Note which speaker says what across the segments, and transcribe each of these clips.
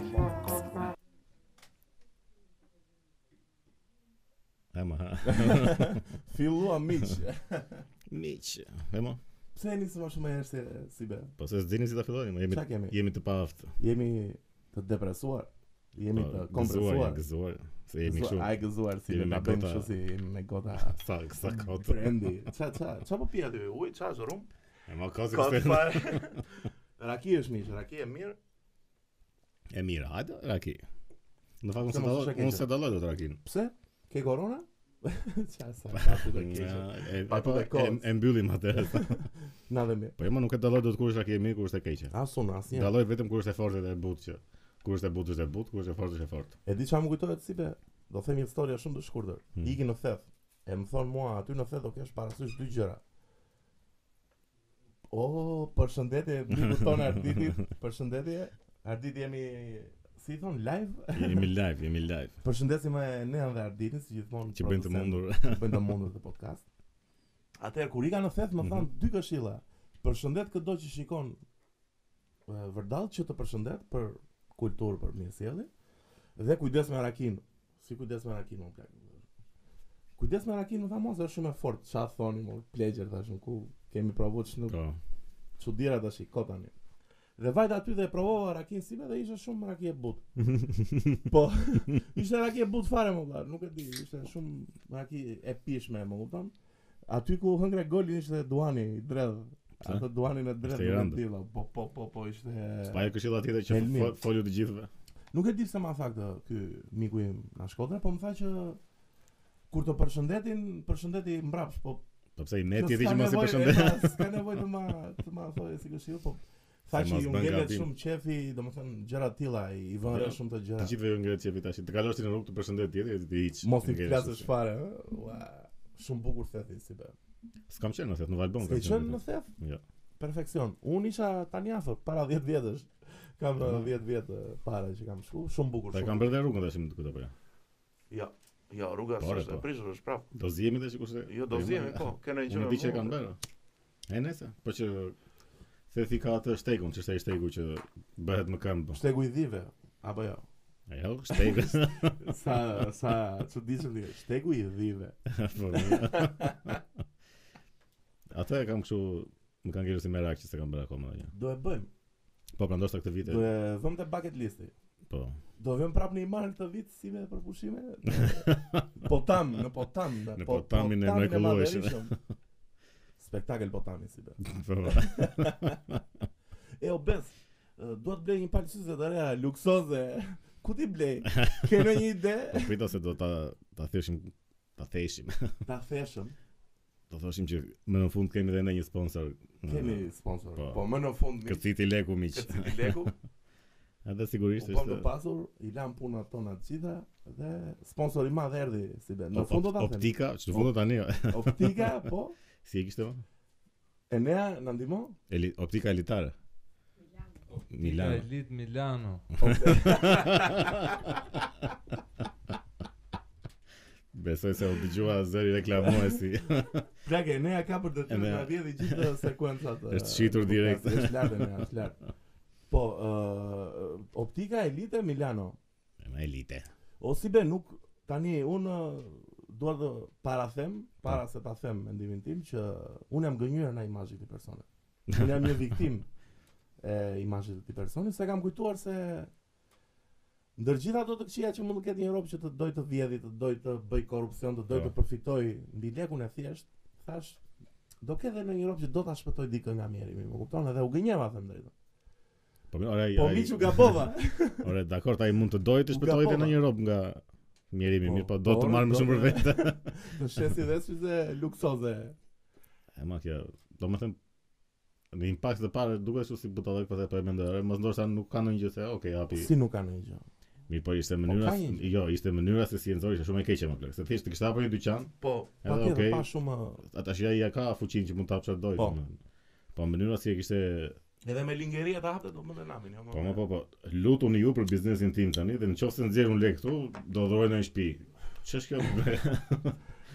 Speaker 1: Fillua miq.
Speaker 2: Miq. E mo.
Speaker 1: Pse jeni më shumë herë se si be?
Speaker 2: Po se s'dini si ta filloni, mo jemi
Speaker 1: Çfarë kemi?
Speaker 2: jemi të paaft.
Speaker 1: Jemi të depresuar. Jemi
Speaker 2: Po,
Speaker 1: të
Speaker 2: gëzuar,
Speaker 1: kompresuar.
Speaker 2: jemi Gëzuar, se jemi
Speaker 1: Gëzuar,
Speaker 2: kështu.
Speaker 1: Ai gëzuar si
Speaker 2: Jemi
Speaker 1: be,
Speaker 2: me
Speaker 1: ta bëjmë
Speaker 2: gota-
Speaker 1: kështu si jemi me gota.
Speaker 2: Sa sa kot.
Speaker 1: Brendi. Ça ça, ça po pi aty? Uj, ça është rum?
Speaker 2: E mo kot
Speaker 1: Kot
Speaker 2: se
Speaker 1: pa. Raki është miq, raki e mirë.
Speaker 2: e mirë. Hajde Raki. Në fakt unë
Speaker 1: Se
Speaker 2: se
Speaker 1: mos
Speaker 2: dalloj,
Speaker 1: është e keqe.
Speaker 2: unë se dalloj dot Rakin.
Speaker 1: Pse? Ke korona? Ça sa, patu Po, të keqë.
Speaker 2: Ja, E
Speaker 1: Pa
Speaker 2: e po
Speaker 1: të
Speaker 2: e,
Speaker 1: kot.
Speaker 2: e mbyllim atë.
Speaker 1: Na dhe mirë.
Speaker 2: Po e mo nuk e dalloj dot kur është Raki e mirë, kur është e keqe.
Speaker 1: Asun, asnjë.
Speaker 2: Dalloj vetëm kur është e fortë dhe e butë që. Kur është e butë është e butë, kur është e fortë është e fortë.
Speaker 1: E di çfarë më kujtohet si be, do them një histori shumë të shkurtër.
Speaker 2: Hmm.
Speaker 1: Iki në theth. E më thon mua aty në theth do kesh parasysh dy gjëra. O, përshëndetje mikut ton Arditit. Përshëndetje. Arditi jemi si i thon live.
Speaker 2: Jemi live, jemi live.
Speaker 1: Përshëndesim me Nean dhe Arditin si gjithmonë.
Speaker 2: Që bëjmë të
Speaker 1: producent,
Speaker 2: mundur.
Speaker 1: që Bëjmë të mundur të podcast. Atëherë kur i ka në theth më than dy këshilla. Përshëndet çdo që shikon e, vërdall që të përshëndet për kulturë, për mirësjellje dhe kujdes me rakin. Si kujdes me rakin, më plak. Kujdes me rakin, më tha mos është shumë e fortë. Ça thoni, më plegjer tashun ku kemi provuar ç'nuk
Speaker 2: Po.
Speaker 1: çuditëra tash i kot tani. Dhe vajta aty dhe e provova rakin si me dhe ishte shumë raki e but. po, ishte raki e but fare më vlar, nuk e di, ishte shumë raki e pishme, më kupton? Aty ku hëngre golin ishte duani i dredh.
Speaker 2: Pse?
Speaker 1: Ato duanin e
Speaker 2: Ishte i
Speaker 1: dredh nuk
Speaker 2: rëndë.
Speaker 1: e di valla. Po po po po ishte
Speaker 2: Pa e këshilla tjetër që
Speaker 1: Elmi.
Speaker 2: fo- folu të gjithëve.
Speaker 1: Nuk e di pse ma tha këtë ky miku im në Shkodër, po më tha që kur të përshëndetin, përshëndeti mbrapsht, po
Speaker 2: Po pse i neti
Speaker 1: Nës'ka
Speaker 2: ti që mos i
Speaker 1: nevojë,
Speaker 2: përshëndet.
Speaker 1: e, ma, S'ka nevojë të ma të ma thojë si këshill, po tha
Speaker 2: Se
Speaker 1: që
Speaker 2: mos
Speaker 1: ju
Speaker 2: bën
Speaker 1: ngelet
Speaker 2: gabim.
Speaker 1: shumë qefi, domethënë gjëra të tilla i vënë
Speaker 2: Jo,
Speaker 1: re shumë të
Speaker 2: Të
Speaker 1: gjëra.
Speaker 2: gjithëve ju ngrehet çepi tash. Të kalosh ti në rrugë të përshëndet tjetër ti hiç.
Speaker 1: Mos i
Speaker 2: Ngelesh
Speaker 1: flasësh
Speaker 2: ashtu.
Speaker 1: fare, ë? Ua, shumë bukur thethi si be.
Speaker 2: S'kam qenë në thet në Valbon.
Speaker 1: S'ke
Speaker 2: kam
Speaker 1: qenë në
Speaker 2: në thet.
Speaker 1: theth?
Speaker 2: Jo.
Speaker 1: Perfeksion. Unë isha tani afër, para 10 vjetësh. Kam
Speaker 2: Mhm.
Speaker 1: 10 vjetë para që kam shku, shumë bukur.
Speaker 2: Ta
Speaker 1: shumë
Speaker 2: kam bërë dhe rrugën tash më këtu apo. jo?
Speaker 3: Jo, jo, rruga
Speaker 2: Pare,
Speaker 3: është
Speaker 2: po.
Speaker 3: e prishur është prap.
Speaker 2: Do zihemi tash kurse.
Speaker 3: Jo, do zihemi po, kanë një gjë.
Speaker 2: Unë di që e
Speaker 3: më
Speaker 2: kam
Speaker 3: vonë.
Speaker 2: bërë. E nëse, po që thethi ka atë shtekun, që është ai shteku që bëhet më këmbë.
Speaker 1: Shtegu i dhive, apo jo?
Speaker 2: Jo, shteku.
Speaker 1: Sa sa çuditshëm ti. Shtegu i dhive.
Speaker 2: Po, mirë. Atë e kam kështu më kanë ngelur si merak që s'e kam bërë akoma. jo.
Speaker 1: Do e bëjmë.
Speaker 2: Po, pra ndoshta këtë vit.
Speaker 1: Do e vëmë te bucket listi.
Speaker 2: Po.
Speaker 1: Do vëm prapë në Iman këtë vit si me për pushime. Po tam, në po tam,
Speaker 2: Në Potamin e mrekullueshëm.
Speaker 1: Spektakel po tami si be.
Speaker 2: Po.
Speaker 1: E obes, ë, dua të blej një palë syze të reja luksoze. Ku ti blej? Ke në një ide?
Speaker 2: Po prita se do ta ta theshim ta theshim.
Speaker 1: Ta theshëm,
Speaker 2: Do thoshim që më në fund kemi edhe ne një sponsor.
Speaker 1: kemi sponsor.
Speaker 2: Po.
Speaker 1: Po më në fund mi.
Speaker 2: Këciti leku miq.
Speaker 3: Këtë ti leku,
Speaker 2: Edhe sigurisht
Speaker 1: U
Speaker 2: është.
Speaker 1: bëm Po, të pasur, i lam punat tona të gjitha dhe sponsor i madh erdhi si be. Në
Speaker 2: op-
Speaker 1: fund do ta them.
Speaker 2: optika, që në fund do tani.
Speaker 1: Optika, po.
Speaker 2: Si e kishte më?
Speaker 1: Enea na ndihmon?
Speaker 2: Eli, optika elitare. Milano.
Speaker 4: Elit Milano.
Speaker 2: Besoj se u dëgjua zëri reklamuesi.
Speaker 1: Plagë Enea ka për detyrë
Speaker 2: Enea.
Speaker 1: ta vjedhë gjithë sekuencat. e,
Speaker 2: Është shitur
Speaker 1: podcast.
Speaker 2: direkt.
Speaker 1: Është lart Enea, është lart. Po, ë optika Elite Milano.
Speaker 2: Ma elite.
Speaker 1: O si be nuk tani un dua të para them, para se ta them mendimin tim që un jam gënjur në imazhin e personit. Un jam një viktim e imazhit të këtij personi, se kam kujtuar se ndër gjitha ato të këqija që mund të ketë një Europë që të doj të vjedhi, të doj të bëj korrupsion, të doj
Speaker 2: Po.
Speaker 1: të përfitoj mbi lekun e thjesht, thash do ke edhe në një Europë që do ta shpëtoj dikën nga mjerimi, më kupton? Edhe u gënjeva them drejtën.
Speaker 2: Po mirë, ora.
Speaker 1: Po
Speaker 2: ai-
Speaker 1: miqu gabova.
Speaker 2: Ora, dakor, ai mund të dojë të
Speaker 1: U
Speaker 2: shpëtojë
Speaker 1: gabova.
Speaker 2: në një rob nga mjerimi,
Speaker 1: Po,
Speaker 2: mirë, po do
Speaker 1: po,
Speaker 2: të marrë më
Speaker 1: do
Speaker 2: shumë për
Speaker 1: të-
Speaker 2: vete.
Speaker 1: Në shesi dhe syze luksoze.
Speaker 2: E ma kjo, do më thëmë, në impakt të parë duke shu si butallëk pastaj po e mendoj, "Ore, mos ndoshta nuk ka ndonjë gjë se, okay, hapi.
Speaker 1: Si nuk ka ndonjë gjë.
Speaker 2: Mirë, po ishte mënyra,
Speaker 1: ka një gjë.
Speaker 2: jo, ishte mënyra se si e nxori, ishte shumë e keqe më plak. Se thjesht të kishte hapur një dyqan,
Speaker 3: po,
Speaker 2: edhe
Speaker 1: Patjetër
Speaker 2: okay,
Speaker 1: pa shumë
Speaker 2: atash ja ja ka fuqinë që mund të hap çfarë dojë.
Speaker 1: Po.
Speaker 2: domethënë. Po mënyra si e kishte,
Speaker 3: edhe me lingeria ta hapte do më namin, jo. më.
Speaker 2: po më po po, lutun ju për biznesin tim tani dhe nëse nxjerr un lek këtu, do dhuroj në një shtëpi. Ç'është kjo?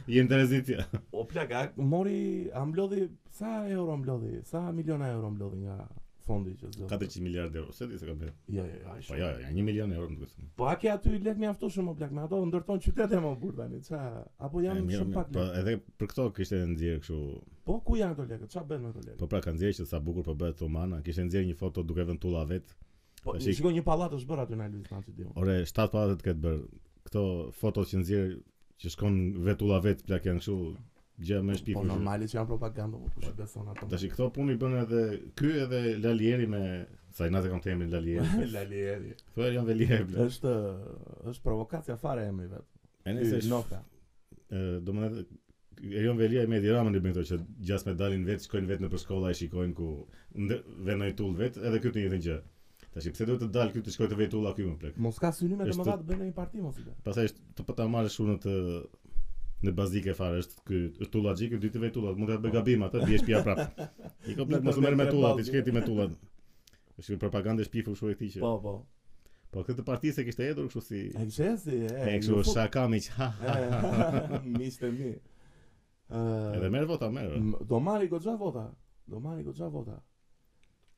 Speaker 2: Je interesit. ja.
Speaker 3: O plak, a
Speaker 1: mori a mblodhi sa euro mblodhi, sa miliona euro mblodhi nga fondi që zë.
Speaker 2: 400 miliardë euro, se di se ka bërë.
Speaker 1: Jo, jo, jo, ai
Speaker 2: Po
Speaker 1: shumë.
Speaker 2: ja, ja, 1 milion euro më duket.
Speaker 1: Po a ke aty lek mjaftueshëm o plak, me ato ndërton qytete më burr tani, ça apo
Speaker 2: E,
Speaker 1: janë
Speaker 2: mirë,
Speaker 1: shumë
Speaker 2: mirë.
Speaker 1: pak
Speaker 2: Po
Speaker 1: lek.
Speaker 2: edhe për këto kishte nxjerr kështu,
Speaker 1: Po ku janë ato lekët? Ça bën me ato lekët?
Speaker 2: po pra kanë nxjerr që sa bukur po bëhet Omana, kishte nxjerr një foto duke vënë tulla vet.
Speaker 1: Po
Speaker 2: tash i-
Speaker 1: shikoj një pallat është bërë aty në Luiz Nanci diu.
Speaker 2: Ore, 7 pallatet këtë bër. Këto foto që nxjerr që shkon vet tulla vet plak janë kështu gjë më shpiku.
Speaker 1: Po normale që janë propagandë, po kush e beson ato?
Speaker 2: Tash i këto punë i bën edhe ky edhe Lalieri me sa i natë kam temin Lalieri.
Speaker 1: Lalieri.
Speaker 2: Po janë Velieri plak.
Speaker 1: Është është provokacja fare e emri vet.
Speaker 2: E
Speaker 1: Ky
Speaker 2: nëse sh-
Speaker 1: Noka.
Speaker 2: Ë, do më thënë Erion Velia me Edi Ramën i bën këto që gjas me dalin vetë, shkojnë vetë nëpër shkolla e shikojnë ku ndë- venoj tull vetë, edhe këtu të njëjtën gjë. Tash pse duhet të dal këtu të shkoj të vetë tulla këtu më plek.
Speaker 1: Mos ka synime
Speaker 2: Është-
Speaker 1: të mëdha të bëjnë një parti mos i ka.
Speaker 2: Pastaj është të po ta marrësh unë të në bazike fare është ky është tullaxhi ky ditë vetë tullat, mund të bëj gabim atë, biesh pia prap. I ka plek mos u merr me tullat, i shketi me tullat. Është një propagandë shpifu kështu e këtij që.
Speaker 1: Po, po.
Speaker 2: Po këtë parti se kishte hedhur kështu si
Speaker 1: E kishe si e.
Speaker 2: e
Speaker 1: ju
Speaker 2: kështu
Speaker 1: fut.
Speaker 2: shaka miq. ha, ha, ha.
Speaker 1: E, Miqtë e mi. Ë,
Speaker 2: Edhe merr vota, merr.
Speaker 1: m- Do marri goxha vota. Do marri goxha vota.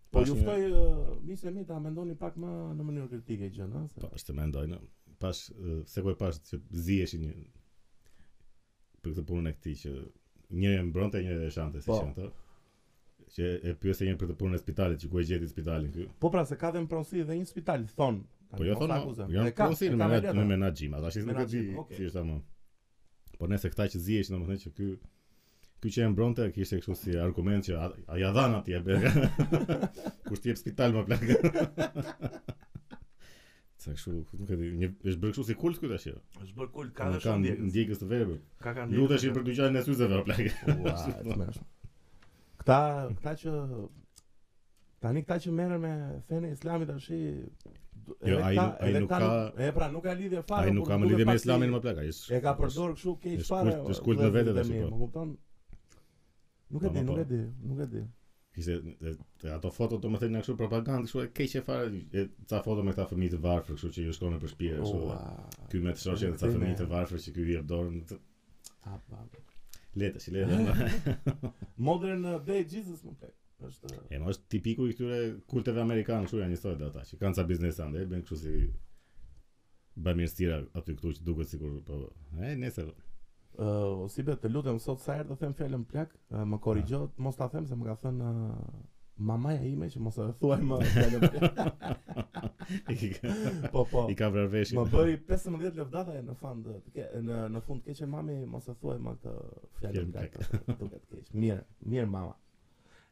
Speaker 1: Po
Speaker 2: Pas
Speaker 1: ju
Speaker 2: një-
Speaker 1: ftoj miqtë e mi ta mendoni pak më në mënyrë kritike gjën, ha? se-
Speaker 2: Po, është të mendoj, në, pash, eh, se ku e pash që ziheshin një, për këtë punën e këtij që njëri e mbronte, njëri e shante, si
Speaker 1: Po.
Speaker 2: qenë ato. Që e pyese një për të punën e spitalit, që ku e gjeti spitalin ky.
Speaker 1: Po pra se ka dhe në pronsi dhe një spital thon.
Speaker 2: Po jo thonë,
Speaker 1: akuzem.
Speaker 2: janë
Speaker 1: E ka-
Speaker 2: pronsin
Speaker 1: e
Speaker 2: me
Speaker 1: ka
Speaker 2: menaj-
Speaker 1: letër.
Speaker 2: me menaxhim, ata shi nuk e di
Speaker 1: Menaxhim, okej.
Speaker 2: si është tamam. Po nëse këta që ziheshin, domethënë që ky ky që e mbronte kishte kështu si argument që a, a ja dhan atje be. Kur ti jep spital më plak. Sa kështu, nuk e di, një është bërë kështu si kult ky tash. jo.
Speaker 3: Është bërë kult, ka
Speaker 2: Ka
Speaker 3: dhe shumë ndjekës.
Speaker 2: ndjekës të verbër.
Speaker 3: Ka ka ndjekës.
Speaker 2: Lutesh i për dyqanin e syzeve apo plak.
Speaker 1: Ua, e smershme. Këta, këta që tani këta që merren me fenë islamit tash jo,
Speaker 2: Jo, ai nuk- ai nuk ka-
Speaker 1: e pra nuk ka lidhje fare.
Speaker 2: Ai
Speaker 1: po
Speaker 2: nuk ka
Speaker 1: duhet
Speaker 2: më lidhje me
Speaker 1: pak si-
Speaker 2: islamin më plak. Ai s-
Speaker 1: E ka përdor kështu keq
Speaker 2: është
Speaker 1: fare.
Speaker 2: kult- është kult në
Speaker 1: vëllezër
Speaker 2: vete
Speaker 1: dhe
Speaker 2: tash,
Speaker 1: mi,
Speaker 2: po.
Speaker 1: Më kupton? Nuk e
Speaker 2: Po,
Speaker 1: di,
Speaker 2: po,
Speaker 1: nuk
Speaker 2: po.
Speaker 1: e di, nuk e di.
Speaker 2: Ishte e- e- ato foto domethënë janë kështu propagandë, kështu e keqe fare, e ca foto me këta fëmijë të varfër, kështu që ju shkon për shtëpi kështu.
Speaker 1: Ua,
Speaker 2: Ky me të shoqën ca
Speaker 1: Këtine.
Speaker 2: fëmijë të varfër që ky i jep dorën. të-
Speaker 1: a, pa, pa.
Speaker 2: Letë, si letë.
Speaker 1: Modern uh, Day Jesus më tek. Është
Speaker 2: E më është tipiku i këtyre kulteve amerikane, kështu janë njësoj dhe ata, që kanë ca biznes ande, e bën kështu si bamirësira aty këtu që duket sikur po. E nesër.
Speaker 1: Uh, o si be, të lutem sot sa herë të them fjalën plak, uh, më korrigjo, mos ta them se më ka thënë uh, mamaja ime që mos e thuaj më fjalën plak.
Speaker 2: I ka-
Speaker 1: Po po.
Speaker 2: I ka vrarë veshin.
Speaker 1: Më bëri 15 lëvdata e në fund të ke, në në fund të keqe mami mos e thuaj më këtë
Speaker 2: Fjalën
Speaker 1: fjalën plak. Duket keq. Mirë, mirë mama.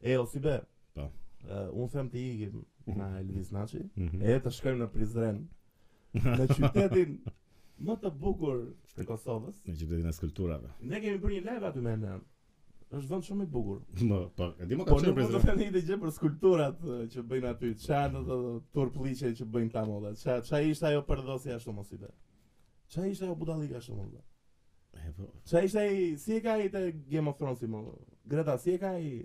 Speaker 1: E o si be.
Speaker 2: Po.
Speaker 1: Uh, unë them të ikim në Elvis Naçi,
Speaker 2: Mhm.
Speaker 1: e të shkojmë në Prizren, në qytetin më të bukur të Kosovës.
Speaker 2: Në qytetin e skulpturave.
Speaker 1: Ne kemi bërë një live aty me Elen. Është vend shumë i bukur.
Speaker 2: Më, po, e di më ka
Speaker 1: Po
Speaker 2: qenë
Speaker 1: nuk mund të
Speaker 2: prezident.
Speaker 1: them një gjë për skulpturat ë, që bëjnë aty. Çfarë janë ato turpulliqe që bëjnë ta moda? Çfarë çfarë ishte ajo përdosja ashtu mos i be. Çfarë ishte ajo budallika ashtu mos i be.
Speaker 2: E, po,
Speaker 1: Çfarë ishte ai si e ka ai te Game of Thrones më? Greta si e ka ai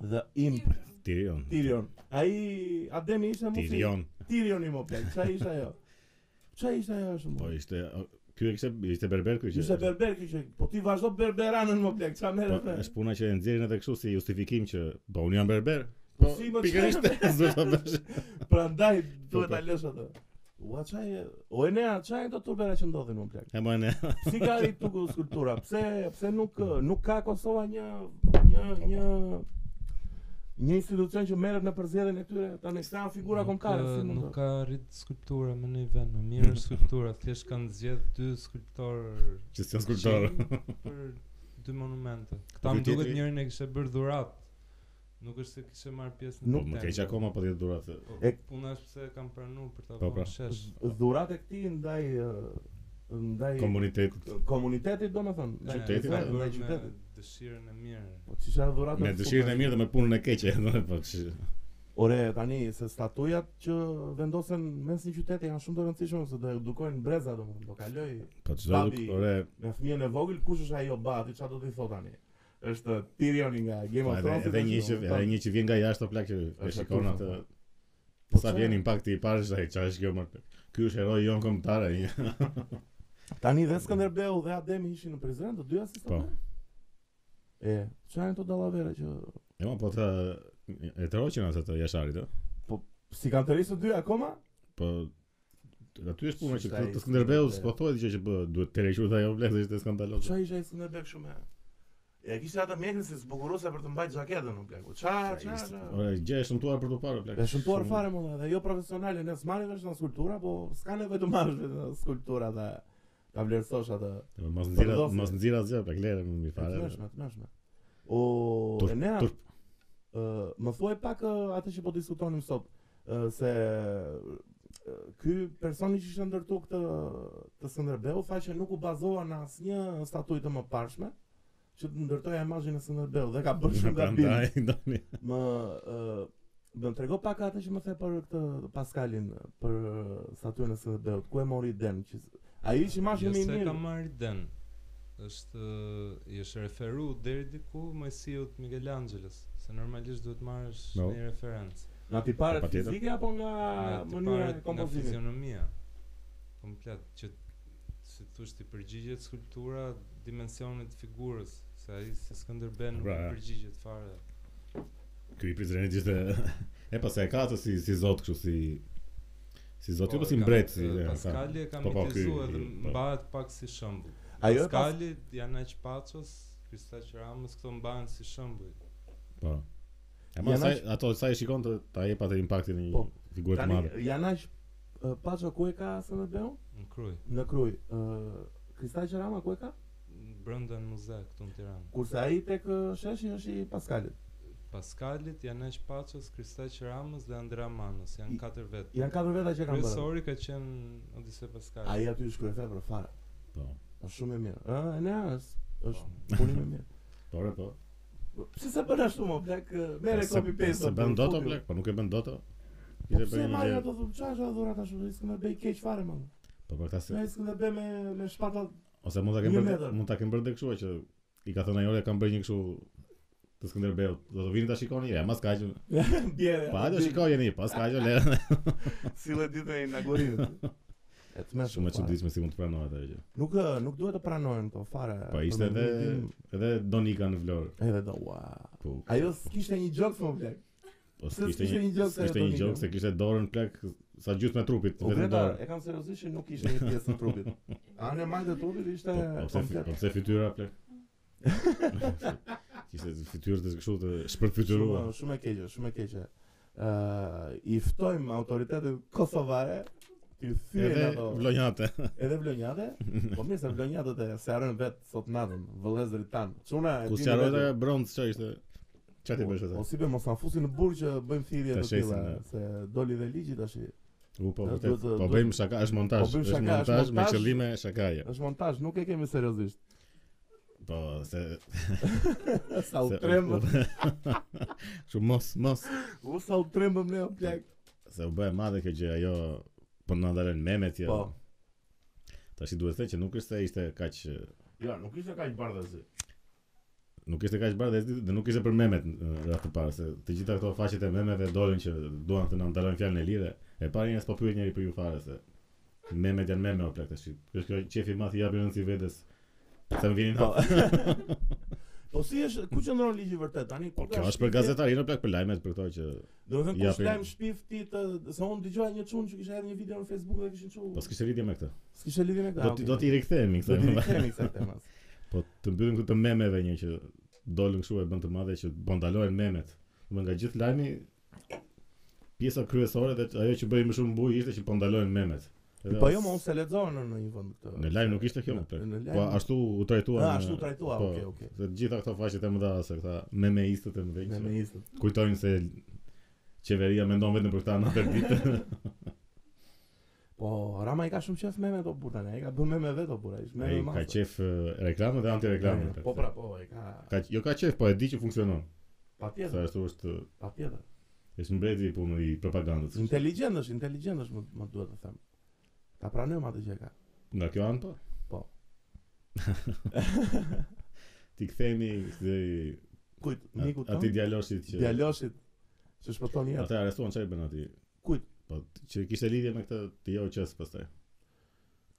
Speaker 1: The Imp
Speaker 2: Tirion.
Speaker 1: Tyrion. Ai Ademi ishte mos i
Speaker 2: Tirion.
Speaker 1: Tyrion i më plak. Çfarë ishte ajo? Çfarë ishte ajo ashtu? mos i
Speaker 2: Po
Speaker 1: be?
Speaker 2: ishte ky e kishte ishte berber ky që.
Speaker 1: Ishte berber kjo që po ti vazhdo berberanën më plak. Çfarë
Speaker 2: Po,
Speaker 1: merre?
Speaker 2: është puna që e nxjerrin edhe kështu si justifikim që po unë jam berber.
Speaker 1: Po,
Speaker 2: Po
Speaker 1: si më
Speaker 2: pikërisht s'do ta bësh.
Speaker 1: Prandaj duhet
Speaker 2: Po, po.
Speaker 1: ta lësh atë. Ua çaj, o e nea, çaj ato turbera që ndodhin më plak.
Speaker 2: E më ne.
Speaker 1: Si ka i tuku skulptura? Pse pse nuk nuk ka Kosova një një një një institucion që merret në përzjedhjen e këtyre tani s'ka figura kombëtare
Speaker 2: eh,
Speaker 1: si mund.
Speaker 4: Nuk
Speaker 1: të-
Speaker 4: ka rrit skulptura më në një vend, më mirë është skulptura, thjesht kanë zgjedh dy skulptorë
Speaker 2: Që s'janë skulptor.
Speaker 4: qenj për dy monumente.
Speaker 2: Po,
Speaker 4: Këta më
Speaker 2: ky
Speaker 4: duket
Speaker 2: tjetri-
Speaker 4: njërin e kishte bërë dhurat. Nuk është se kishte marrë pjesë në
Speaker 2: Nuk më
Speaker 4: temp.
Speaker 2: keq akoma po ti durat.
Speaker 4: Po,
Speaker 1: E-
Speaker 4: Puna është pse kanë pranuar për ta
Speaker 2: Po, pra.
Speaker 4: vënë shesh.
Speaker 1: Dhuratë e këtij ndaj ë, ndaj
Speaker 2: Komunitet
Speaker 1: komunitetit domethënë, ndaj
Speaker 2: Qytetit,
Speaker 1: ndaj-
Speaker 2: po.
Speaker 1: ndaj
Speaker 4: Ndaj
Speaker 1: qytetit.
Speaker 4: Dëshirën e mirë.
Speaker 1: Po çisha dhuratë
Speaker 2: me dëshirën e mirë dhe me punën e keqe, domethënë po. që-
Speaker 1: Ore, tani se statujat që vendosen mes një qyteti janë shumë të rëndësishme se do edukojnë breza domethënë, do kaloj
Speaker 2: Po çdo
Speaker 1: Babi.
Speaker 2: ore
Speaker 1: me fëmijën e vogël kush është ajo bati, çfarë do t'i thot tani? Është Tyrioni nga Game
Speaker 2: po,
Speaker 1: of
Speaker 2: edhe
Speaker 1: Thrones.
Speaker 2: edhe një që edhe një që vjen nga jashtë o plak që e
Speaker 1: Është
Speaker 2: shikon
Speaker 1: kurrë,
Speaker 2: atë
Speaker 1: po.
Speaker 2: Po sa vjen impakti i parë është ai, çfarë është kjo më? Ky është heroi jon kombëtar ai.
Speaker 1: Tani dhe Skënderbeu dhe Ademi ishin në Prizren, të dyja si
Speaker 2: Po.
Speaker 1: statujat. E, çfarë janë këto dallavera që
Speaker 2: E ma po të E të roqen asë të jasharit, ë?
Speaker 1: Si kanë të rrisë dy akoma?
Speaker 2: Po aty është puna që
Speaker 1: Shqiptari
Speaker 2: këtë të
Speaker 1: i
Speaker 2: Skënderbeu
Speaker 1: Skënderbeu.
Speaker 2: s'po thuhet gjë që bë, duhet të rrequr dhe ajo vlezë është skandaloze.
Speaker 3: Qa isha i Skënderbeu kështu me... Ja kishte ata mjekën se zbukurose për të mbajt xhaketën në plak. Qa, qa, qa.
Speaker 2: Ora gjë e shëmtuar për të parë plak.
Speaker 1: E shëmtuar
Speaker 2: Shumë-
Speaker 1: fare më dhe jo profesionale, ne s'marrin vesh në skulptura, po s'ka nevojë të marrësh vetë në skulptura dhe ta vlerësosh atë.
Speaker 2: E, Mos nxjera,
Speaker 1: Përdofje.
Speaker 2: mos nxjera asgjë plak, lere më mi
Speaker 1: E Të
Speaker 2: fare.
Speaker 1: mëshme, të mëshme. O,
Speaker 2: Tur-
Speaker 1: e ne,
Speaker 2: tur-
Speaker 1: më thuaj pak ë, atë që po diskutonim sot, ë, se ë, ky personi që ishte ndërtu këtë të Skënderbeu tha që nuk u bazova në asnjë statutë të mëparshme që të ndërtoja imazhin e Skënderbeu dhe ka bërë shumë gabim.
Speaker 2: Prandaj, ndani.
Speaker 1: Më ë më trego pak atë që më the për këtë Pascalin për statuen e Skënderbeut. Ku e mori den që ai që mash
Speaker 4: Jo,
Speaker 1: më i
Speaker 4: se ka
Speaker 1: mirë.
Speaker 4: marrë den. Është ë, i është referu deri diku Mojsiut Michelangelos, se normalisht duhet marrësh
Speaker 2: No.
Speaker 4: një referencë.
Speaker 1: Nga tiparet
Speaker 2: Po, patjetër.
Speaker 1: fizike apo nga
Speaker 4: Nga të
Speaker 1: mënyra
Speaker 4: parët,
Speaker 1: e
Speaker 4: nga
Speaker 1: kompozimit?
Speaker 4: fizionomia. Komplet që si thosh ti përgjigjet skulptura dimensionit të figurës, se ai si Skënderben nuk
Speaker 2: Pra,
Speaker 4: i
Speaker 2: ja.
Speaker 4: përgjigjet fare.
Speaker 2: Ky i Prizrenit ishte e pastaj ka atë si si zot kështu si si zot, jo po si
Speaker 4: ka-
Speaker 2: mbret si. e,
Speaker 4: ë,
Speaker 2: ka.
Speaker 4: Pascali e ka
Speaker 2: Po, po,
Speaker 4: mitizuar
Speaker 2: ky-
Speaker 4: dhe
Speaker 2: ky- po.
Speaker 4: mbahet pak si shembull.
Speaker 1: Ajo e pas
Speaker 4: Pascali, Janaç Pacos, Kristaq Ramës këto mbahen si shembull.
Speaker 2: Po. E ma
Speaker 1: Janë
Speaker 2: sa
Speaker 1: aq-
Speaker 2: ato sa e shikon të ta jep atë impaktin e një
Speaker 1: Po,
Speaker 2: figure të
Speaker 1: tani
Speaker 2: madhe.
Speaker 1: janë aq ë, Paço ku e ka Skënderbeun?
Speaker 4: Në kruj,
Speaker 1: Në Kruj. ë Kristaj Qerama ku e ka?
Speaker 4: brenda në muze këtu në Tiranë.
Speaker 1: Kurse ai tek ë, sheshi është i Pascalit.
Speaker 4: Paskalit, Janaç Pacos, Kristaq Ramës dhe Andrea Manos, janë
Speaker 1: I-
Speaker 4: katër vetë.
Speaker 1: Janë katër veta që kanë bërë.
Speaker 4: Kryesori ka qenë Odise Paskali.
Speaker 1: Ai aty shkruajte për fare.
Speaker 2: Po.
Speaker 1: Është shumë e mirë. Ë, e ne është është punim i mirë.
Speaker 2: Po, ore, po.
Speaker 1: Pse se bën ashtu më blek, merre
Speaker 2: Se-
Speaker 1: copy paste.
Speaker 2: Se bën dot plak, po nuk e bën dot.
Speaker 1: Po pse marrin ato po, thumë çfarë është dhurat ashtu, isë më bëj keq fare më.
Speaker 2: Po për këtë se
Speaker 1: Ne isë më bëj me me shpata.
Speaker 2: Ose mund ta
Speaker 1: Një
Speaker 2: kem bërë,
Speaker 1: metër.
Speaker 2: mund ta kem bërë dhe kështu që i ka thënë ajo "Ja, kam bërë një kështu të Skënderbeut. Do të vini ta shikoni, ja, mas kaq.
Speaker 1: Bjerë.
Speaker 2: Po hajde shikojeni, pas kaq le.
Speaker 3: Sile ditën e
Speaker 1: Nagorinit. E të mëshme
Speaker 2: Shumë e çuditshme si mund të pranohet ajo gjë.
Speaker 1: Nuk ë, nuk duhet të pranohen këto fare.
Speaker 2: Po ishte
Speaker 1: për
Speaker 2: edhe
Speaker 1: mendimin tim,
Speaker 2: edhe Donika në Vlorë.
Speaker 1: edhe do ua.
Speaker 2: Po.
Speaker 1: Ajo s'kishte një jokes më blek.
Speaker 2: Po
Speaker 1: Se
Speaker 2: kishte
Speaker 1: s'kishte
Speaker 2: një
Speaker 1: një gjokë se
Speaker 2: kishte një
Speaker 1: Donika.
Speaker 2: gjokë se kishte dorën plak sa gjysmë e trupit,
Speaker 1: Po
Speaker 2: vetëm
Speaker 1: vetë
Speaker 2: dorë.
Speaker 1: e kam seriozisht që nuk ishte një pjesë e trupit. Anë e majtë e trupit ishte
Speaker 2: Po po pse fi-
Speaker 1: komplet.
Speaker 2: po pse fytyra plak. Kishte fytyrë të kështu të shpërfytyruar.
Speaker 1: Shumë shumë e keqe, shumë e keqe. Ë, i ftojmë autoritetin kosovare ti thyen
Speaker 2: Edhe
Speaker 1: ato
Speaker 2: vlonjate.
Speaker 1: edhe vlonjate, po mirë se vlonjatët e sjarën vet sot natën, vëllezërit tan. Çuna e
Speaker 2: Ku
Speaker 1: dini
Speaker 2: sqarojta
Speaker 1: vetë.
Speaker 2: bronz çfarë ishte? Çfarë ti bësh
Speaker 1: O
Speaker 2: atë?
Speaker 1: si be mos na fusin në burg që bëjmë thirrje
Speaker 2: Ta
Speaker 1: të tilla,
Speaker 2: shesin,
Speaker 1: se doli dhe ligji tash.
Speaker 2: U po
Speaker 1: Ja,
Speaker 2: vërtet.
Speaker 1: duhet të-
Speaker 2: Po
Speaker 1: duhet-
Speaker 2: bëjmë shaka, është montazh.
Speaker 1: Po bëjmë
Speaker 2: Është
Speaker 1: shaka, është
Speaker 2: montazh me
Speaker 1: montazh.
Speaker 2: qëllime shakaje.
Speaker 1: Është montazh, nuk e kemi seriozisht.
Speaker 2: Po se
Speaker 1: Sa u
Speaker 2: se-
Speaker 1: trembëm,
Speaker 2: Shumë mos mos
Speaker 1: u sa u trembëm ne o plak.
Speaker 2: se u bë e madhe kjo gjë ajo po na dalën memet jo.
Speaker 1: Po.
Speaker 2: Tash i duhet të thënë që nuk është se ishte kaq
Speaker 3: Ja, nuk ishte kaq bardhësi.
Speaker 2: nuk ishte kaq bardhë dhe- dhe nuk ishte për memet në radhë të parë se të gjitha këto faqet e memeve dolën që duan të na ndalojnë fjalën e lirë. E pari njerëz po pyet njëri për ju fare se memet janë meme o plak tash. Kjo është kjo qefi i madh i japin rëndësi vetes. Sa më vjen
Speaker 1: Po. Po si është ku qëndron ligji vërtet tani?
Speaker 2: Po
Speaker 1: Kur
Speaker 2: kjo është
Speaker 1: ka
Speaker 2: për
Speaker 1: shpifje-
Speaker 2: gazetarinë, plak për lajmet për këto që
Speaker 1: Do të thënë kush
Speaker 2: Japin.
Speaker 1: lajm shpif ti të se unë dëgjova një çun që kishte hedhur një video në Facebook dhe kishin çu.
Speaker 2: po s'kishte lidhje me këtë.
Speaker 1: S'kishte lidhje me këtë.
Speaker 2: Do ti do ti rikthehemi
Speaker 1: do ti
Speaker 2: kësaj.
Speaker 1: kemi këtë temas.
Speaker 2: Po të mbyllim këtu të memeve një që dolën kështu e bën të madhe që po ndalohen memet. Domethënë nga gjithë lajmi pjesa kryesore dhe ajo që bëri më shumë buj ishte që po ndalohen memet. Edhe
Speaker 1: Po jo, më unë se lexova në një vend këtë.
Speaker 2: Në lajm nuk ishte kjo,
Speaker 1: Në-
Speaker 2: plak.
Speaker 1: Në
Speaker 2: po
Speaker 1: lajm.
Speaker 2: ashtu u trajtuan.
Speaker 1: Ah, ashtu trajtua,
Speaker 2: po,
Speaker 1: okay, okay.
Speaker 2: Se të gjitha këto faqet e mëdha se këta memeistët e mëdhenj.
Speaker 1: Me
Speaker 2: që
Speaker 1: me isët.
Speaker 2: Kujtojnë se qeveria mendon vetëm për këta natë e ditë.
Speaker 1: Po Rama i ka shumë qef meme ato burra, ai ka bën meme vetë o burra, ishte
Speaker 2: Ai
Speaker 1: meme
Speaker 2: ka
Speaker 1: masa.
Speaker 2: qef e, reklamën dhe antireklamën.
Speaker 1: Ja,
Speaker 2: plak.
Speaker 1: Po pra, po, ai ka
Speaker 2: Ka jo ka qef, po e di që funksionon. Sa
Speaker 1: patjetër,
Speaker 2: ashtu është
Speaker 1: patjetër.
Speaker 2: është mbreti i punës i propagandës.
Speaker 1: Inteligjent është, inteligjent është, më- më duhet të them. Ta pranojmë atë që e ka.
Speaker 2: Nga kjo anë po.
Speaker 1: Po.
Speaker 2: Ti kthehemi këtij
Speaker 1: Kujt, miku
Speaker 2: atij
Speaker 1: tonë,
Speaker 2: djaloshit që
Speaker 1: djaloshit që shpëton jetën.
Speaker 2: ata arrestuan çfarë bën aty.
Speaker 1: Kujt?
Speaker 2: Po t- që kishte lidhje me këtë të jo qes pastaj.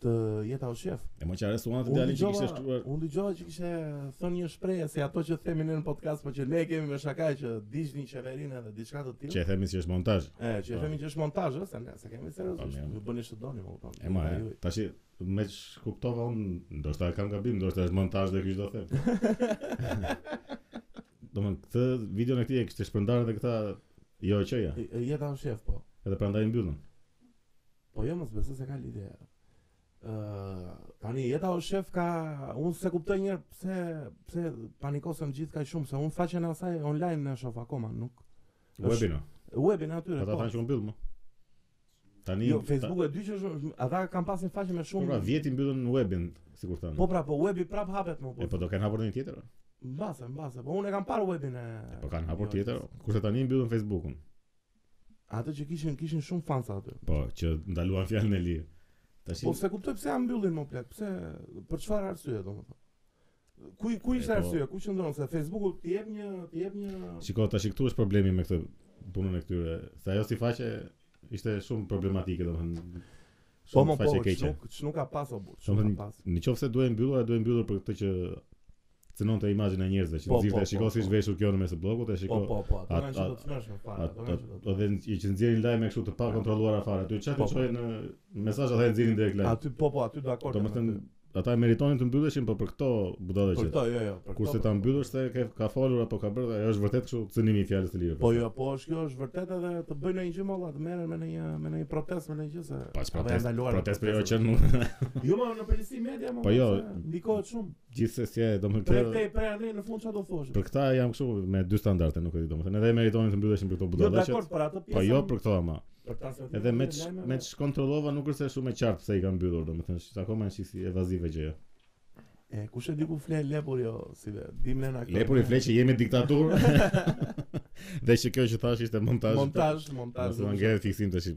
Speaker 1: të jeta o shef.
Speaker 2: E më qarë restoranti
Speaker 1: Unë
Speaker 2: djalin që
Speaker 1: dëgjova-
Speaker 2: kishte shkruar.
Speaker 1: Unë dëgjova që kishte eh, thënë një shprehje se ato që themi ne në podcast, por që ne kemi me shaka që diçni qeverinë edhe diçka të tillë.
Speaker 2: Që e themi si është montazh.
Speaker 1: E, që e
Speaker 2: Po.
Speaker 1: themi që është montazh, ë, se ne se kemi seriozisht,
Speaker 2: Po, mirë.
Speaker 1: ju bëni ç'të doni, më kupton.
Speaker 2: E ma,
Speaker 1: Nga
Speaker 2: e,
Speaker 1: juj.
Speaker 2: tash me që kuptova unë, ndoshta e kam gabim, ndoshta është montazh dhe ky çdo them. Domthon këtë video në këtë e kishte shpërndarë edhe këta jo e qëja,
Speaker 1: E- e, Jeta o shef, po.
Speaker 2: edhe prandaj mbyllën.
Speaker 1: Po jo, mos besoj se ka lidhje. Ë, tani jeta o shef ka, unë se kuptoj një herë pse pse panikosëm gjithë kaq shumë se unë faqen e asaj online në shoh akoma, nuk. Është-
Speaker 2: Webino.
Speaker 1: Webin atyre
Speaker 2: Ata
Speaker 1: po.
Speaker 2: thanë që u mbyll më. Tani
Speaker 1: Jo, Facebooku e dy që shumë, ata kanë pasin faqe me
Speaker 2: Pra,
Speaker 1: shumë.
Speaker 2: vjeti mbyllën webin, sikur thanë.
Speaker 1: Po pra, po webi prap hapet më
Speaker 2: E
Speaker 1: po.
Speaker 2: po do kanë hapur një tjetër? o?
Speaker 1: Mbase, mbase, po unë e kam parë webin e.
Speaker 2: E po kanë
Speaker 1: Jo,
Speaker 2: hapur tjetër, o? kurse tani mbyllën Facebookun.
Speaker 1: Ato që kishin kishin shumë fansa aty.
Speaker 2: Po, që ndaluan fjalën e lirë. Tash
Speaker 1: Po se kuptoj pse ja mbyllin më plak, pse për çfarë arsye domethënë. Ku ku ishte
Speaker 2: E, po.
Speaker 1: arsye? Ku qëndron se Facebooku ti jep një ti jep një
Speaker 2: Shiko, tash këtu është problemi me këtë punën e këtyre. Se ajo si faqe ishte shumë problematike, domethënë.
Speaker 1: Po
Speaker 2: Shumë
Speaker 1: më po,
Speaker 2: faqe keqe.
Speaker 1: nuk nuk ka pas obur,
Speaker 2: Do
Speaker 1: nuk
Speaker 2: më
Speaker 1: ka pas.
Speaker 2: Në qoftë se duhet mbyllur, e duhet mbyllur për këtë që cënonte imazhin e njerëzve, që
Speaker 1: Po, po,
Speaker 2: nxirrte,
Speaker 1: po,
Speaker 2: shiko si
Speaker 1: po.
Speaker 2: është veshur kjo në mes të bllokut, e
Speaker 1: Po
Speaker 2: shiko.
Speaker 1: po po, ato
Speaker 2: at-
Speaker 1: kanë çdo
Speaker 2: at-
Speaker 1: të smeshme fare, ato kanë çdo të.
Speaker 2: Edhe i që nxjerrin lajme kështu të pa kontrolluara fare. Aty
Speaker 1: Po,
Speaker 2: çfarë
Speaker 1: po.
Speaker 2: çojë në mesazh ata e nxjerrin direkt lajm.
Speaker 1: Aty po po, aty dakord. jam
Speaker 2: Domethënë
Speaker 1: aty.
Speaker 2: ata e meritonin të mbylleshin, po për këto budallë
Speaker 1: për
Speaker 2: që.
Speaker 1: këto jo jo, për këto,
Speaker 2: Kurse
Speaker 1: për
Speaker 2: ta
Speaker 1: këto.
Speaker 2: mbyllësh se ke ka folur apo ka bërë, ajo është vërtet kështu cënimi i fjalës së lirë.
Speaker 1: Po jo, po është kjo është vërtet edhe të bëjnë ndonjë gjë molla, të merren me një me një protestë me një gjë se
Speaker 2: Pas
Speaker 1: apo janë
Speaker 2: protest,
Speaker 1: po, ndaluar
Speaker 2: protest për jo
Speaker 1: protestet.
Speaker 2: qenë mund.
Speaker 1: Jo më në polisi media më.
Speaker 2: Po jo.
Speaker 1: se ndikohet shumë.
Speaker 2: Gjithsesi, domethënë
Speaker 1: Drejtë për atë në fund çfarë do thosh.
Speaker 2: Për këta jam kështu me dy standarde, nuk e di domethënë. Edhe e meritonin të mbylleshin për këto
Speaker 1: Jo
Speaker 2: budallaqe.
Speaker 1: dakord për atë pjesë.
Speaker 2: Po jo për këto ama.
Speaker 1: për transmetimin
Speaker 2: Edhe
Speaker 1: e
Speaker 2: me ç-
Speaker 1: lajmeve.
Speaker 2: me ç kontrollova nuk është se shumë e qartë pse i kanë mbyllur domethënë. Është akoma një si evazive gjëja.
Speaker 1: E kush e di ku fle lepur jo si ve. Dim ne na.
Speaker 2: Lepuri fleq që jemi diktaturë. Dhe që kjo që thash ishte montazh.
Speaker 1: Montazh, montazh.
Speaker 2: Montazh. Mos ngjerë fiksim tash.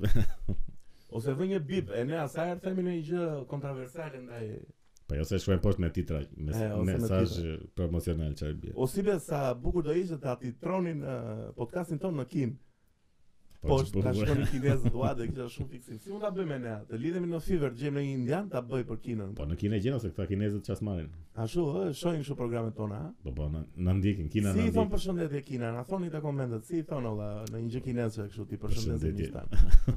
Speaker 1: Ose vë një bip, e ne asaj herë themi një gjë kontroversale ndaj
Speaker 2: Po jo se shkruajnë poshtë me titra, me
Speaker 1: E, ose me Po,
Speaker 2: mesazh promocional çfarë bie.
Speaker 1: O si be sa bukur do ishte ta ti tronin eh, podcastin ton në Kin. Po
Speaker 2: që
Speaker 1: ta
Speaker 2: po-
Speaker 1: shkoni kinezët ua dhe kisha shumë fiksim. Si mund ta bëjmë ne? Të lidhemi në Fever, të gjejmë në një indian ta bëj për Kinën.
Speaker 2: Po në Kinë e gjena se këta kinezët çfarë marrin.
Speaker 1: Ashtu ë, shohim kështu programet tona, ha.
Speaker 2: Po po, na- na ndjekin, Kina na
Speaker 1: si i thon
Speaker 2: ndjekin.
Speaker 1: përshëndetje Kina, na thoni te komentet, si i thon olla në një gjë kineze kështu ti përshëndesim
Speaker 2: Përshëndetje.
Speaker 1: Kinën.